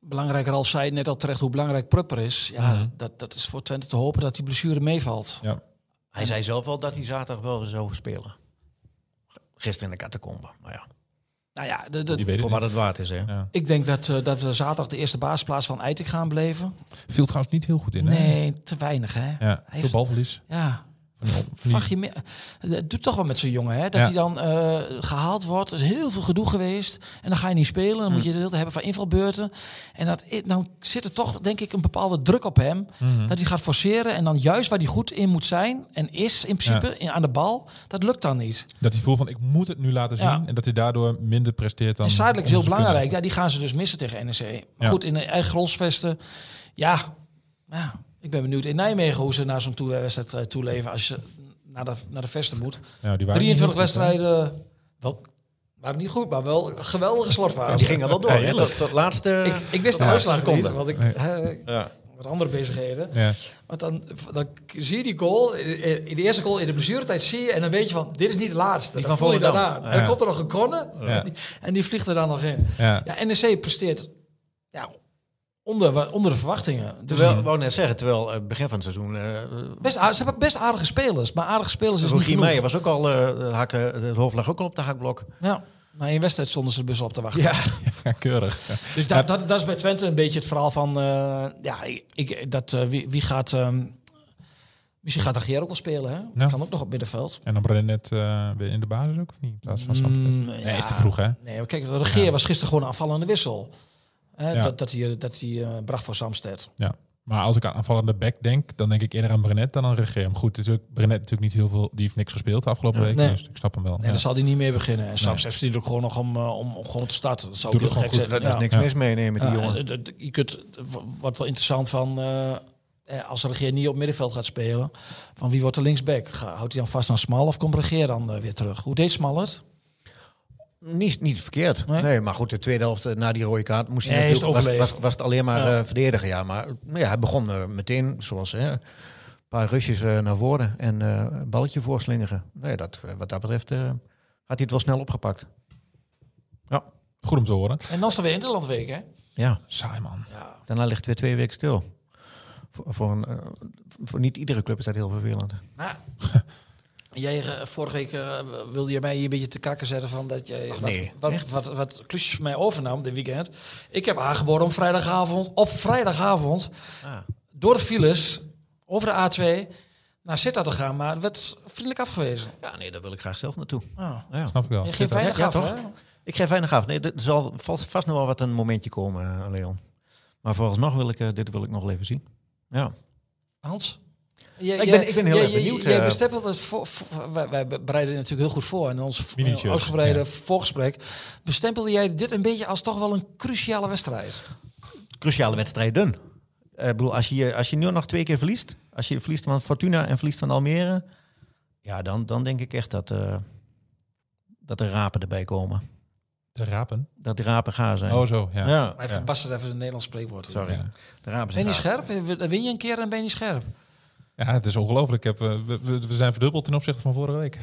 [SPEAKER 5] belangrijker als zij net al terecht hoe belangrijk Prupper is. Ja,
[SPEAKER 4] Mhm.
[SPEAKER 5] dat, dat is voor Twente te hopen dat die blessure meevalt.
[SPEAKER 4] Ja.
[SPEAKER 6] Hij zei zelf al dat hij zaterdag wel zou spelen. Gisteren in de catacombe. Maar ja,
[SPEAKER 5] Nou ja, de, de-
[SPEAKER 4] Die weet
[SPEAKER 6] voor
[SPEAKER 4] het
[SPEAKER 6] wat
[SPEAKER 4] niet.
[SPEAKER 6] het waard is, hè.
[SPEAKER 4] Ja.
[SPEAKER 5] ik denk dat, eh, dat we zaterdag de eerste basisplaats van Eiting gaan beleven.
[SPEAKER 4] Viel trouwens niet heel goed in. hè?
[SPEAKER 5] Nee, te weinig hè.
[SPEAKER 4] Ja,
[SPEAKER 5] Hij
[SPEAKER 4] veel
[SPEAKER 5] heeft-
[SPEAKER 4] balverlies.
[SPEAKER 5] Ja,
[SPEAKER 4] Van die- van die-
[SPEAKER 5] vraag je meer. Het doet Eh, toch wel met zo'n jongen, hè? Dat
[SPEAKER 4] Ja.
[SPEAKER 5] hij dan eh, gehaald wordt. Er is heel veel gedoe geweest. En dan ga je niet spelen.
[SPEAKER 4] Mm.
[SPEAKER 5] Dan moet je de hele tijd hebben van invalbeurten. En dat, i- nou zit er toch, denk ik, een bepaalde druk op hem.
[SPEAKER 4] Mhm.
[SPEAKER 5] Dat hij gaat forceren. En dan juist waar hij goed in moet zijn. En is in principe in, aan de bal. Dat lukt dan niet.
[SPEAKER 4] Dat hij voelt van ik moet het nu laten zien.
[SPEAKER 5] Ja.
[SPEAKER 4] En dat hij daardoor minder presteert dan.
[SPEAKER 5] en Zuidelijk is heel
[SPEAKER 4] onze
[SPEAKER 5] belangrijk.
[SPEAKER 4] kunnen.
[SPEAKER 5] Ja, die gaan ze dus missen tegen NEC. Maar
[SPEAKER 4] Ja.
[SPEAKER 5] goed, in de eigen grosvesten. Ja, ja, ik ben benieuwd in Nijmegen hoe ze naar zo'n toe- wedstrijd eh, toeleven. Als je naar de, naar de vesten moet.
[SPEAKER 4] Ja, die waren niet
[SPEAKER 5] 23
[SPEAKER 4] heel goed,
[SPEAKER 5] wedstrijden. Wel, waren niet goed, maar wel een geweldige slotfase.
[SPEAKER 6] Die gingen wel door, hè. Tot, tot laatste...
[SPEAKER 5] Ik, ik wist de
[SPEAKER 6] Ja,
[SPEAKER 5] uitslag
[SPEAKER 6] seconde.
[SPEAKER 5] niet, want ik hè, wat andere bezigheden.
[SPEAKER 4] hè? Ja.
[SPEAKER 5] Want dan, dan zie je die goal, eh, in in de eerste goal in de blessuretijd zie je... en dan weet je van, dit is niet de laatste.
[SPEAKER 6] Die
[SPEAKER 5] dan
[SPEAKER 6] van
[SPEAKER 5] voel je
[SPEAKER 6] Volendam.
[SPEAKER 5] daarna. En dan
[SPEAKER 4] Ja.
[SPEAKER 5] komt er nog een corner
[SPEAKER 4] Ja.
[SPEAKER 5] en die vliegt er dan nog in.
[SPEAKER 4] Ja.
[SPEAKER 5] Ja, NEC presteert ja, onder, wa- onder de verwachtingen. Dus
[SPEAKER 6] Terwijl, wou net zeggen, terwijl eh, begin van het seizoen... eh
[SPEAKER 5] best, aard- ze hebben best aardige spelers, maar aardige spelers is Dus niet
[SPEAKER 6] Rogier
[SPEAKER 5] genoeg.
[SPEAKER 6] Meijer was ook al... eh hakken, het hoofd lag ook al op de hakblok.
[SPEAKER 5] Ja, na één wedstrijd stonden ze de bus al op te wachten.
[SPEAKER 4] Ja, keurig. Ja.
[SPEAKER 5] Dus dat, dat, dat is bij Twente een beetje het verhaal van... eh, ja, ik- ik, dat, eh, wie, wie gaat... ehm, misschien gaat Regier ook wel spelen, hè?
[SPEAKER 4] Ja.
[SPEAKER 5] Kan ook nog op middenveld.
[SPEAKER 4] En dan Brenet net eh, weer in de basis ook, of niet? In plaats van Samsted.
[SPEAKER 5] Mm,
[SPEAKER 4] Nee,
[SPEAKER 5] ja.
[SPEAKER 4] is te vroeg, hè?
[SPEAKER 5] Nee, maar kijk, Regeer was gisteren gewoon een aanvallende wissel. Hè,
[SPEAKER 4] Ja.
[SPEAKER 5] Dat, dat hij, eh, dat hij eh, bracht voor Samsted.
[SPEAKER 4] Ja. Maar als ik aan aanvallende back denk, dan denk ik eerder aan Brenet dan aan Regeer. Maar goed, natuurlijk, Brenet natuurlijk niet heel veel, die heeft niks gespeeld de afgelopen week.
[SPEAKER 5] Nee.
[SPEAKER 4] Dus ik snap hem wel.
[SPEAKER 5] En
[SPEAKER 4] Ja.
[SPEAKER 5] daar zal hij niet meer beginnen. En Samsted verdient ook gewoon nog om, eh, om, om gewoon te starten. Dat zou
[SPEAKER 4] Doet
[SPEAKER 5] ook heel
[SPEAKER 4] het
[SPEAKER 5] gek
[SPEAKER 4] gewoon
[SPEAKER 5] zijn.
[SPEAKER 6] Daar is
[SPEAKER 5] Ja.
[SPEAKER 6] niks
[SPEAKER 4] Ja.
[SPEAKER 6] mis mee, nee, met die
[SPEAKER 5] Ja,
[SPEAKER 6] jongen.
[SPEAKER 5] eh, dat- je kunt, wat wel interessant van, eh, eh, als Regeer niet op middenveld gaat spelen, van wie wordt de linksback? Ga- Houdt hij dan vast aan Smal of komt Regeer dan eh, weer terug? Hoe deed Smal het?
[SPEAKER 6] Niet, niet verkeerd.
[SPEAKER 5] Nee?
[SPEAKER 6] Nee? maar goed, de tweede helft eh, na die rode kaart moest hij
[SPEAKER 5] Nee, is het
[SPEAKER 6] natuurlijk, was,
[SPEAKER 5] overleven.
[SPEAKER 6] was, was het alleen maar
[SPEAKER 5] Ja.
[SPEAKER 6] eh, verdedigen. Ja, maar eh, nou ja, hij begon eh, meteen, zoals hè, een paar rusjes eh, naar voren en eh, een balletje voorslingeren. Nee, dat, eh, wat dat betreft eh, had hij het wel snel opgepakt.
[SPEAKER 4] Goed om te horen.
[SPEAKER 5] En dan is er weer Interlandweek, hè?
[SPEAKER 6] Ja,
[SPEAKER 4] Saai man.
[SPEAKER 5] Ja.
[SPEAKER 6] daarna ligt het weer twee weken stil. Voor, voor, een, eh, voor niet iedere club is dat heel vervelend.
[SPEAKER 5] Maar jij, eh, vorige week eh, wilde je mij hier een beetje te kakken zetten van dat jij
[SPEAKER 6] Ach, nee.
[SPEAKER 5] wat, wat, wat, wat, wat klusjes van mij overnam dit weekend. Ik heb aangeboden om vrijdagavond, op vrijdagavond, door de files, over de A2, naar Sittard te gaan. Maar het werd vriendelijk afgewezen.
[SPEAKER 6] Ja, nee, daar wil ik graag zelf naartoe.
[SPEAKER 5] Ja.
[SPEAKER 6] Ja.
[SPEAKER 4] Snap ik wel.
[SPEAKER 5] Je geeft
[SPEAKER 6] Ja,
[SPEAKER 5] weinig
[SPEAKER 6] ja,
[SPEAKER 5] af,
[SPEAKER 6] toch?
[SPEAKER 5] Oh. hè?
[SPEAKER 6] Ik geef weinig af. Nee, er zal vast, vast nog wel wat een momentje komen, eh, Leon. Maar vooralsnog wil ik, eh, dit wil ik nog wel even zien. Ja.
[SPEAKER 5] Hans? Jij-
[SPEAKER 6] Ik
[SPEAKER 5] jij-
[SPEAKER 6] ben- ik ben heel
[SPEAKER 5] jij-
[SPEAKER 6] erg benieuwd,
[SPEAKER 5] Jij, jij
[SPEAKER 6] eh.
[SPEAKER 5] bestempelt het voor, voor- wij, wij bereiden natuurlijk heel goed voor. En in ons eh,
[SPEAKER 4] Miniatures,
[SPEAKER 5] uitgebreide
[SPEAKER 4] ja.
[SPEAKER 5] voorgesprek bestempelde jij dit een beetje als toch wel een cruciale wedstrijd.
[SPEAKER 6] cruciale wedstrijden. Eh, Ik bedoel, als je, als je nu nog twee keer verliest, als je verliest van Fortuna en verliest van Almere, ja, dan, dan denk ik echt dat, eh, dat de rapen erbij komen.
[SPEAKER 4] De rapen.
[SPEAKER 6] Dat de rapen gaar zijn.
[SPEAKER 4] Oh, zo. Ja.
[SPEAKER 6] ja.
[SPEAKER 5] Maar Nou, even,
[SPEAKER 4] Ja.
[SPEAKER 5] Bas, het even een Nederlands spreekwoord.
[SPEAKER 6] sorry.
[SPEAKER 4] Ja.
[SPEAKER 6] De rapen
[SPEAKER 5] Ben
[SPEAKER 6] zijn
[SPEAKER 5] je niet
[SPEAKER 6] gaar.
[SPEAKER 5] scherp? Dan win je een keer en ben je niet scherp.
[SPEAKER 4] Ja, het is ongelooflijk. Ik heb, eh, we, we- we zijn verdubbeld ten opzichte van vorige week.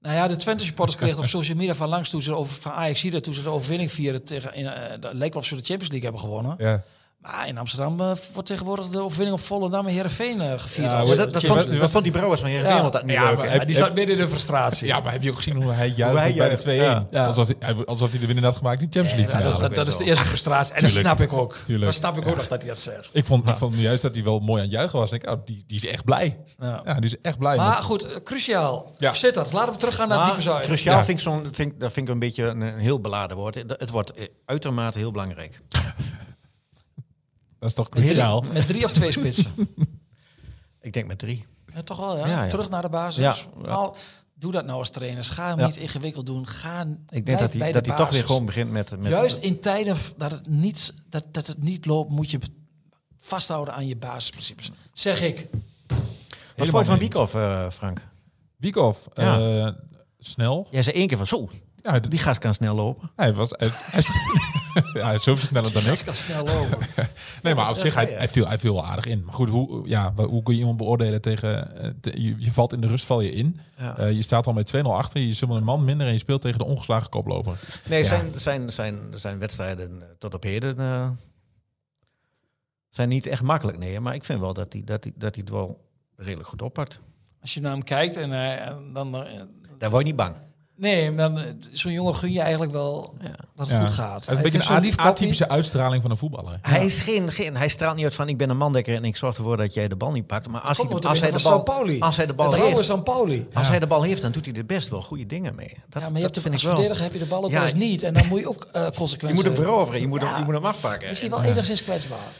[SPEAKER 5] Nou ja, de Twente supporters kregen op social media van langs toen ze over, van Ajax hier toen ze de overwinning vierden tegen in, eh, dat leek wel of ze de Champions League hebben gewonnen.
[SPEAKER 4] Ja.
[SPEAKER 5] Maar in Amsterdam eh, wordt tegenwoordig de overwinning op Volendam en Heerenveen eh, gevierd.
[SPEAKER 4] Ja,
[SPEAKER 5] als,
[SPEAKER 6] Maar
[SPEAKER 5] eh,
[SPEAKER 6] dat, dat,
[SPEAKER 5] de
[SPEAKER 6] vond,
[SPEAKER 5] Champions
[SPEAKER 6] dat vond die Brouwers van Heerenveen
[SPEAKER 5] Ja.
[SPEAKER 6] altijd niet
[SPEAKER 4] Ja,
[SPEAKER 6] leuk.
[SPEAKER 4] maar
[SPEAKER 6] hè?
[SPEAKER 5] League. Ja, die zat midden in de frustratie.
[SPEAKER 4] ja, maar heb je ook gezien hoe hij juicht
[SPEAKER 6] Hoe hij
[SPEAKER 4] bij de 2-1?
[SPEAKER 6] juicht, ja.
[SPEAKER 5] Ja.
[SPEAKER 4] Alsof, hij, hij- alsof hij de winnaar had gemaakt in de Champions
[SPEAKER 5] Nee,
[SPEAKER 4] League
[SPEAKER 5] eh, dat,
[SPEAKER 4] finale.
[SPEAKER 5] dat, dat is de eerste frustratie. En dat
[SPEAKER 4] Tuurlijk.
[SPEAKER 5] snap ik ook.
[SPEAKER 4] Tuurlijk.
[SPEAKER 5] Dat snap ik ook nog dat hij dat zegt.
[SPEAKER 4] Ik vond, ik vond juist dat hij wel mooi aan het juichen was. Ik denk, oh, die, die is echt blij.
[SPEAKER 5] Ja.
[SPEAKER 4] Ja, die is echt blij.
[SPEAKER 5] Maar goed, eh, cruciaal.
[SPEAKER 4] Ja.
[SPEAKER 5] Zit dat? Laten we teruggaan naar
[SPEAKER 6] Maar
[SPEAKER 5] diepe zuid.
[SPEAKER 6] cruciaal
[SPEAKER 4] Ja.
[SPEAKER 6] vind ik zo'n, vind, ik- dat vind ik een beetje een, een heel beladen woord. Het- Het wordt eh, uitermate heel belangrijk.
[SPEAKER 4] Dat is toch cruciaal?
[SPEAKER 5] Met drie of twee spitsen.
[SPEAKER 6] Ik denk met drie.
[SPEAKER 5] Ja, toch wel, ja?
[SPEAKER 6] Ja, ja.
[SPEAKER 5] Terug naar de basis.
[SPEAKER 6] Ja.
[SPEAKER 5] Nou, doe dat nou als trainers. Ga hem
[SPEAKER 6] Ja.
[SPEAKER 5] niet ingewikkeld doen. Ga
[SPEAKER 6] Ik
[SPEAKER 5] blijf
[SPEAKER 6] denk dat
[SPEAKER 5] bij
[SPEAKER 6] hij,
[SPEAKER 5] de
[SPEAKER 6] dat hij toch
[SPEAKER 5] basis.
[SPEAKER 6] weer gewoon begint met... met
[SPEAKER 5] Juist in tijden v- dat het, niet, dat, dat het niet loopt, moet je vasthouden aan je basisprincipes. Zeg ik.
[SPEAKER 6] Wat vond je van Wiekhoff, eh, Frank?
[SPEAKER 4] Wiekhoff,
[SPEAKER 6] Ja.
[SPEAKER 4] eh, snel.
[SPEAKER 6] Jij zei één keer van, zo,
[SPEAKER 4] Ja, hij-
[SPEAKER 6] Die gast kan snel lopen.
[SPEAKER 4] hij was... Hij, hij, ja, hij is sowieso sneller dan
[SPEAKER 5] Dat
[SPEAKER 4] ik.
[SPEAKER 5] kan snel lopen.
[SPEAKER 4] Nee, maar op
[SPEAKER 6] dat
[SPEAKER 4] zich,
[SPEAKER 6] zei
[SPEAKER 4] hij,
[SPEAKER 6] je.
[SPEAKER 4] hij, viel, hij viel wel aardig in. Maar goed, hoe, ja, wa- hoe kun je iemand beoordelen tegen... eh, te- je, je valt in de rust, val je in.
[SPEAKER 6] Ja.
[SPEAKER 4] Eh, je staat al met 2-0 achter. Je is helemaal een man minder en je speelt tegen de ongeslagen koploper.
[SPEAKER 6] Nee,
[SPEAKER 4] Ja.
[SPEAKER 6] zijn, zijn, zijn, zijn wedstrijden eh, tot op heden eh, zijn niet echt makkelijk. Nee, maar ik vind wel dat hij dat die, dat die het wel redelijk goed oppakt.
[SPEAKER 5] Als je naar hem kijkt en eh, en dan... eh,
[SPEAKER 6] Daar word je niet bang.
[SPEAKER 5] Nee, maar dan, eh, zo'n jongen gun je eigenlijk wel
[SPEAKER 6] Ja.
[SPEAKER 5] dat het
[SPEAKER 4] Ja.
[SPEAKER 5] goed gaat.
[SPEAKER 4] Hij is
[SPEAKER 5] Hij
[SPEAKER 4] een beetje
[SPEAKER 5] vindt
[SPEAKER 4] een
[SPEAKER 5] zo'n
[SPEAKER 4] aty-
[SPEAKER 5] lief kopje.
[SPEAKER 4] atypische uitstraling van een voetballer.
[SPEAKER 6] Hij, is geen, geen, hij straalt niet uit van ik ben een mandekker en ik zorg ervoor dat jij de bal niet pakt. Maar als, hij
[SPEAKER 5] Komt
[SPEAKER 6] de,
[SPEAKER 5] nog te
[SPEAKER 6] als, hij,
[SPEAKER 5] winnen
[SPEAKER 6] de
[SPEAKER 5] van Sao
[SPEAKER 6] bal,
[SPEAKER 5] Pauli.
[SPEAKER 6] als hij de bal
[SPEAKER 5] Het rauwe
[SPEAKER 6] heeft,
[SPEAKER 5] Sao Pauli.
[SPEAKER 6] als hij de bal heeft, dan doet hij er best wel goede dingen mee. Dat,
[SPEAKER 5] ja, maar je
[SPEAKER 6] dat
[SPEAKER 5] hebt de,
[SPEAKER 6] vind
[SPEAKER 5] als
[SPEAKER 6] ik wel.
[SPEAKER 5] verdediger heb je de bal ook
[SPEAKER 6] Ja,
[SPEAKER 5] wel eens
[SPEAKER 6] je-
[SPEAKER 5] niet. En dan moet je ook eh
[SPEAKER 6] Je
[SPEAKER 5] consequenties
[SPEAKER 6] moet hem
[SPEAKER 5] hebben.
[SPEAKER 6] veroveren, je moet, hem,
[SPEAKER 5] Ja.
[SPEAKER 6] je moet hem
[SPEAKER 5] Is
[SPEAKER 6] afpakken.
[SPEAKER 5] hij wel enigszins kwetsbaar?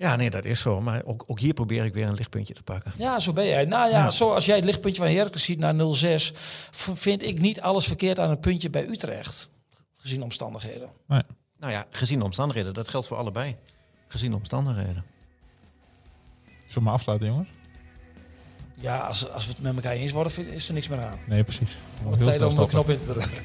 [SPEAKER 6] Ja, nee, dat is zo. Maar ook, ook hier probeer ik weer een lichtpuntje te pakken.
[SPEAKER 5] Ja, zo ben jij. Nou ja, zo als jij het lichtpuntje van Heracles ziet naar 06, v- vind ik niet alles verkeerd aan het puntje bij Utrecht. Gezien de omstandigheden.
[SPEAKER 4] Nee.
[SPEAKER 6] Nou ja, gezien de omstandigheden, dat geldt voor allebei. Gezien de omstandigheden.
[SPEAKER 4] Zullen we maar afsluiten, jongens?
[SPEAKER 5] Ja, als, als we het met elkaar eens worden, vind- is er niks meer aan.
[SPEAKER 4] Nee, precies. We moeten
[SPEAKER 5] Wordt
[SPEAKER 4] heel
[SPEAKER 5] tijd
[SPEAKER 4] snel
[SPEAKER 5] om de
[SPEAKER 4] stoppen.
[SPEAKER 5] knop in te drukken.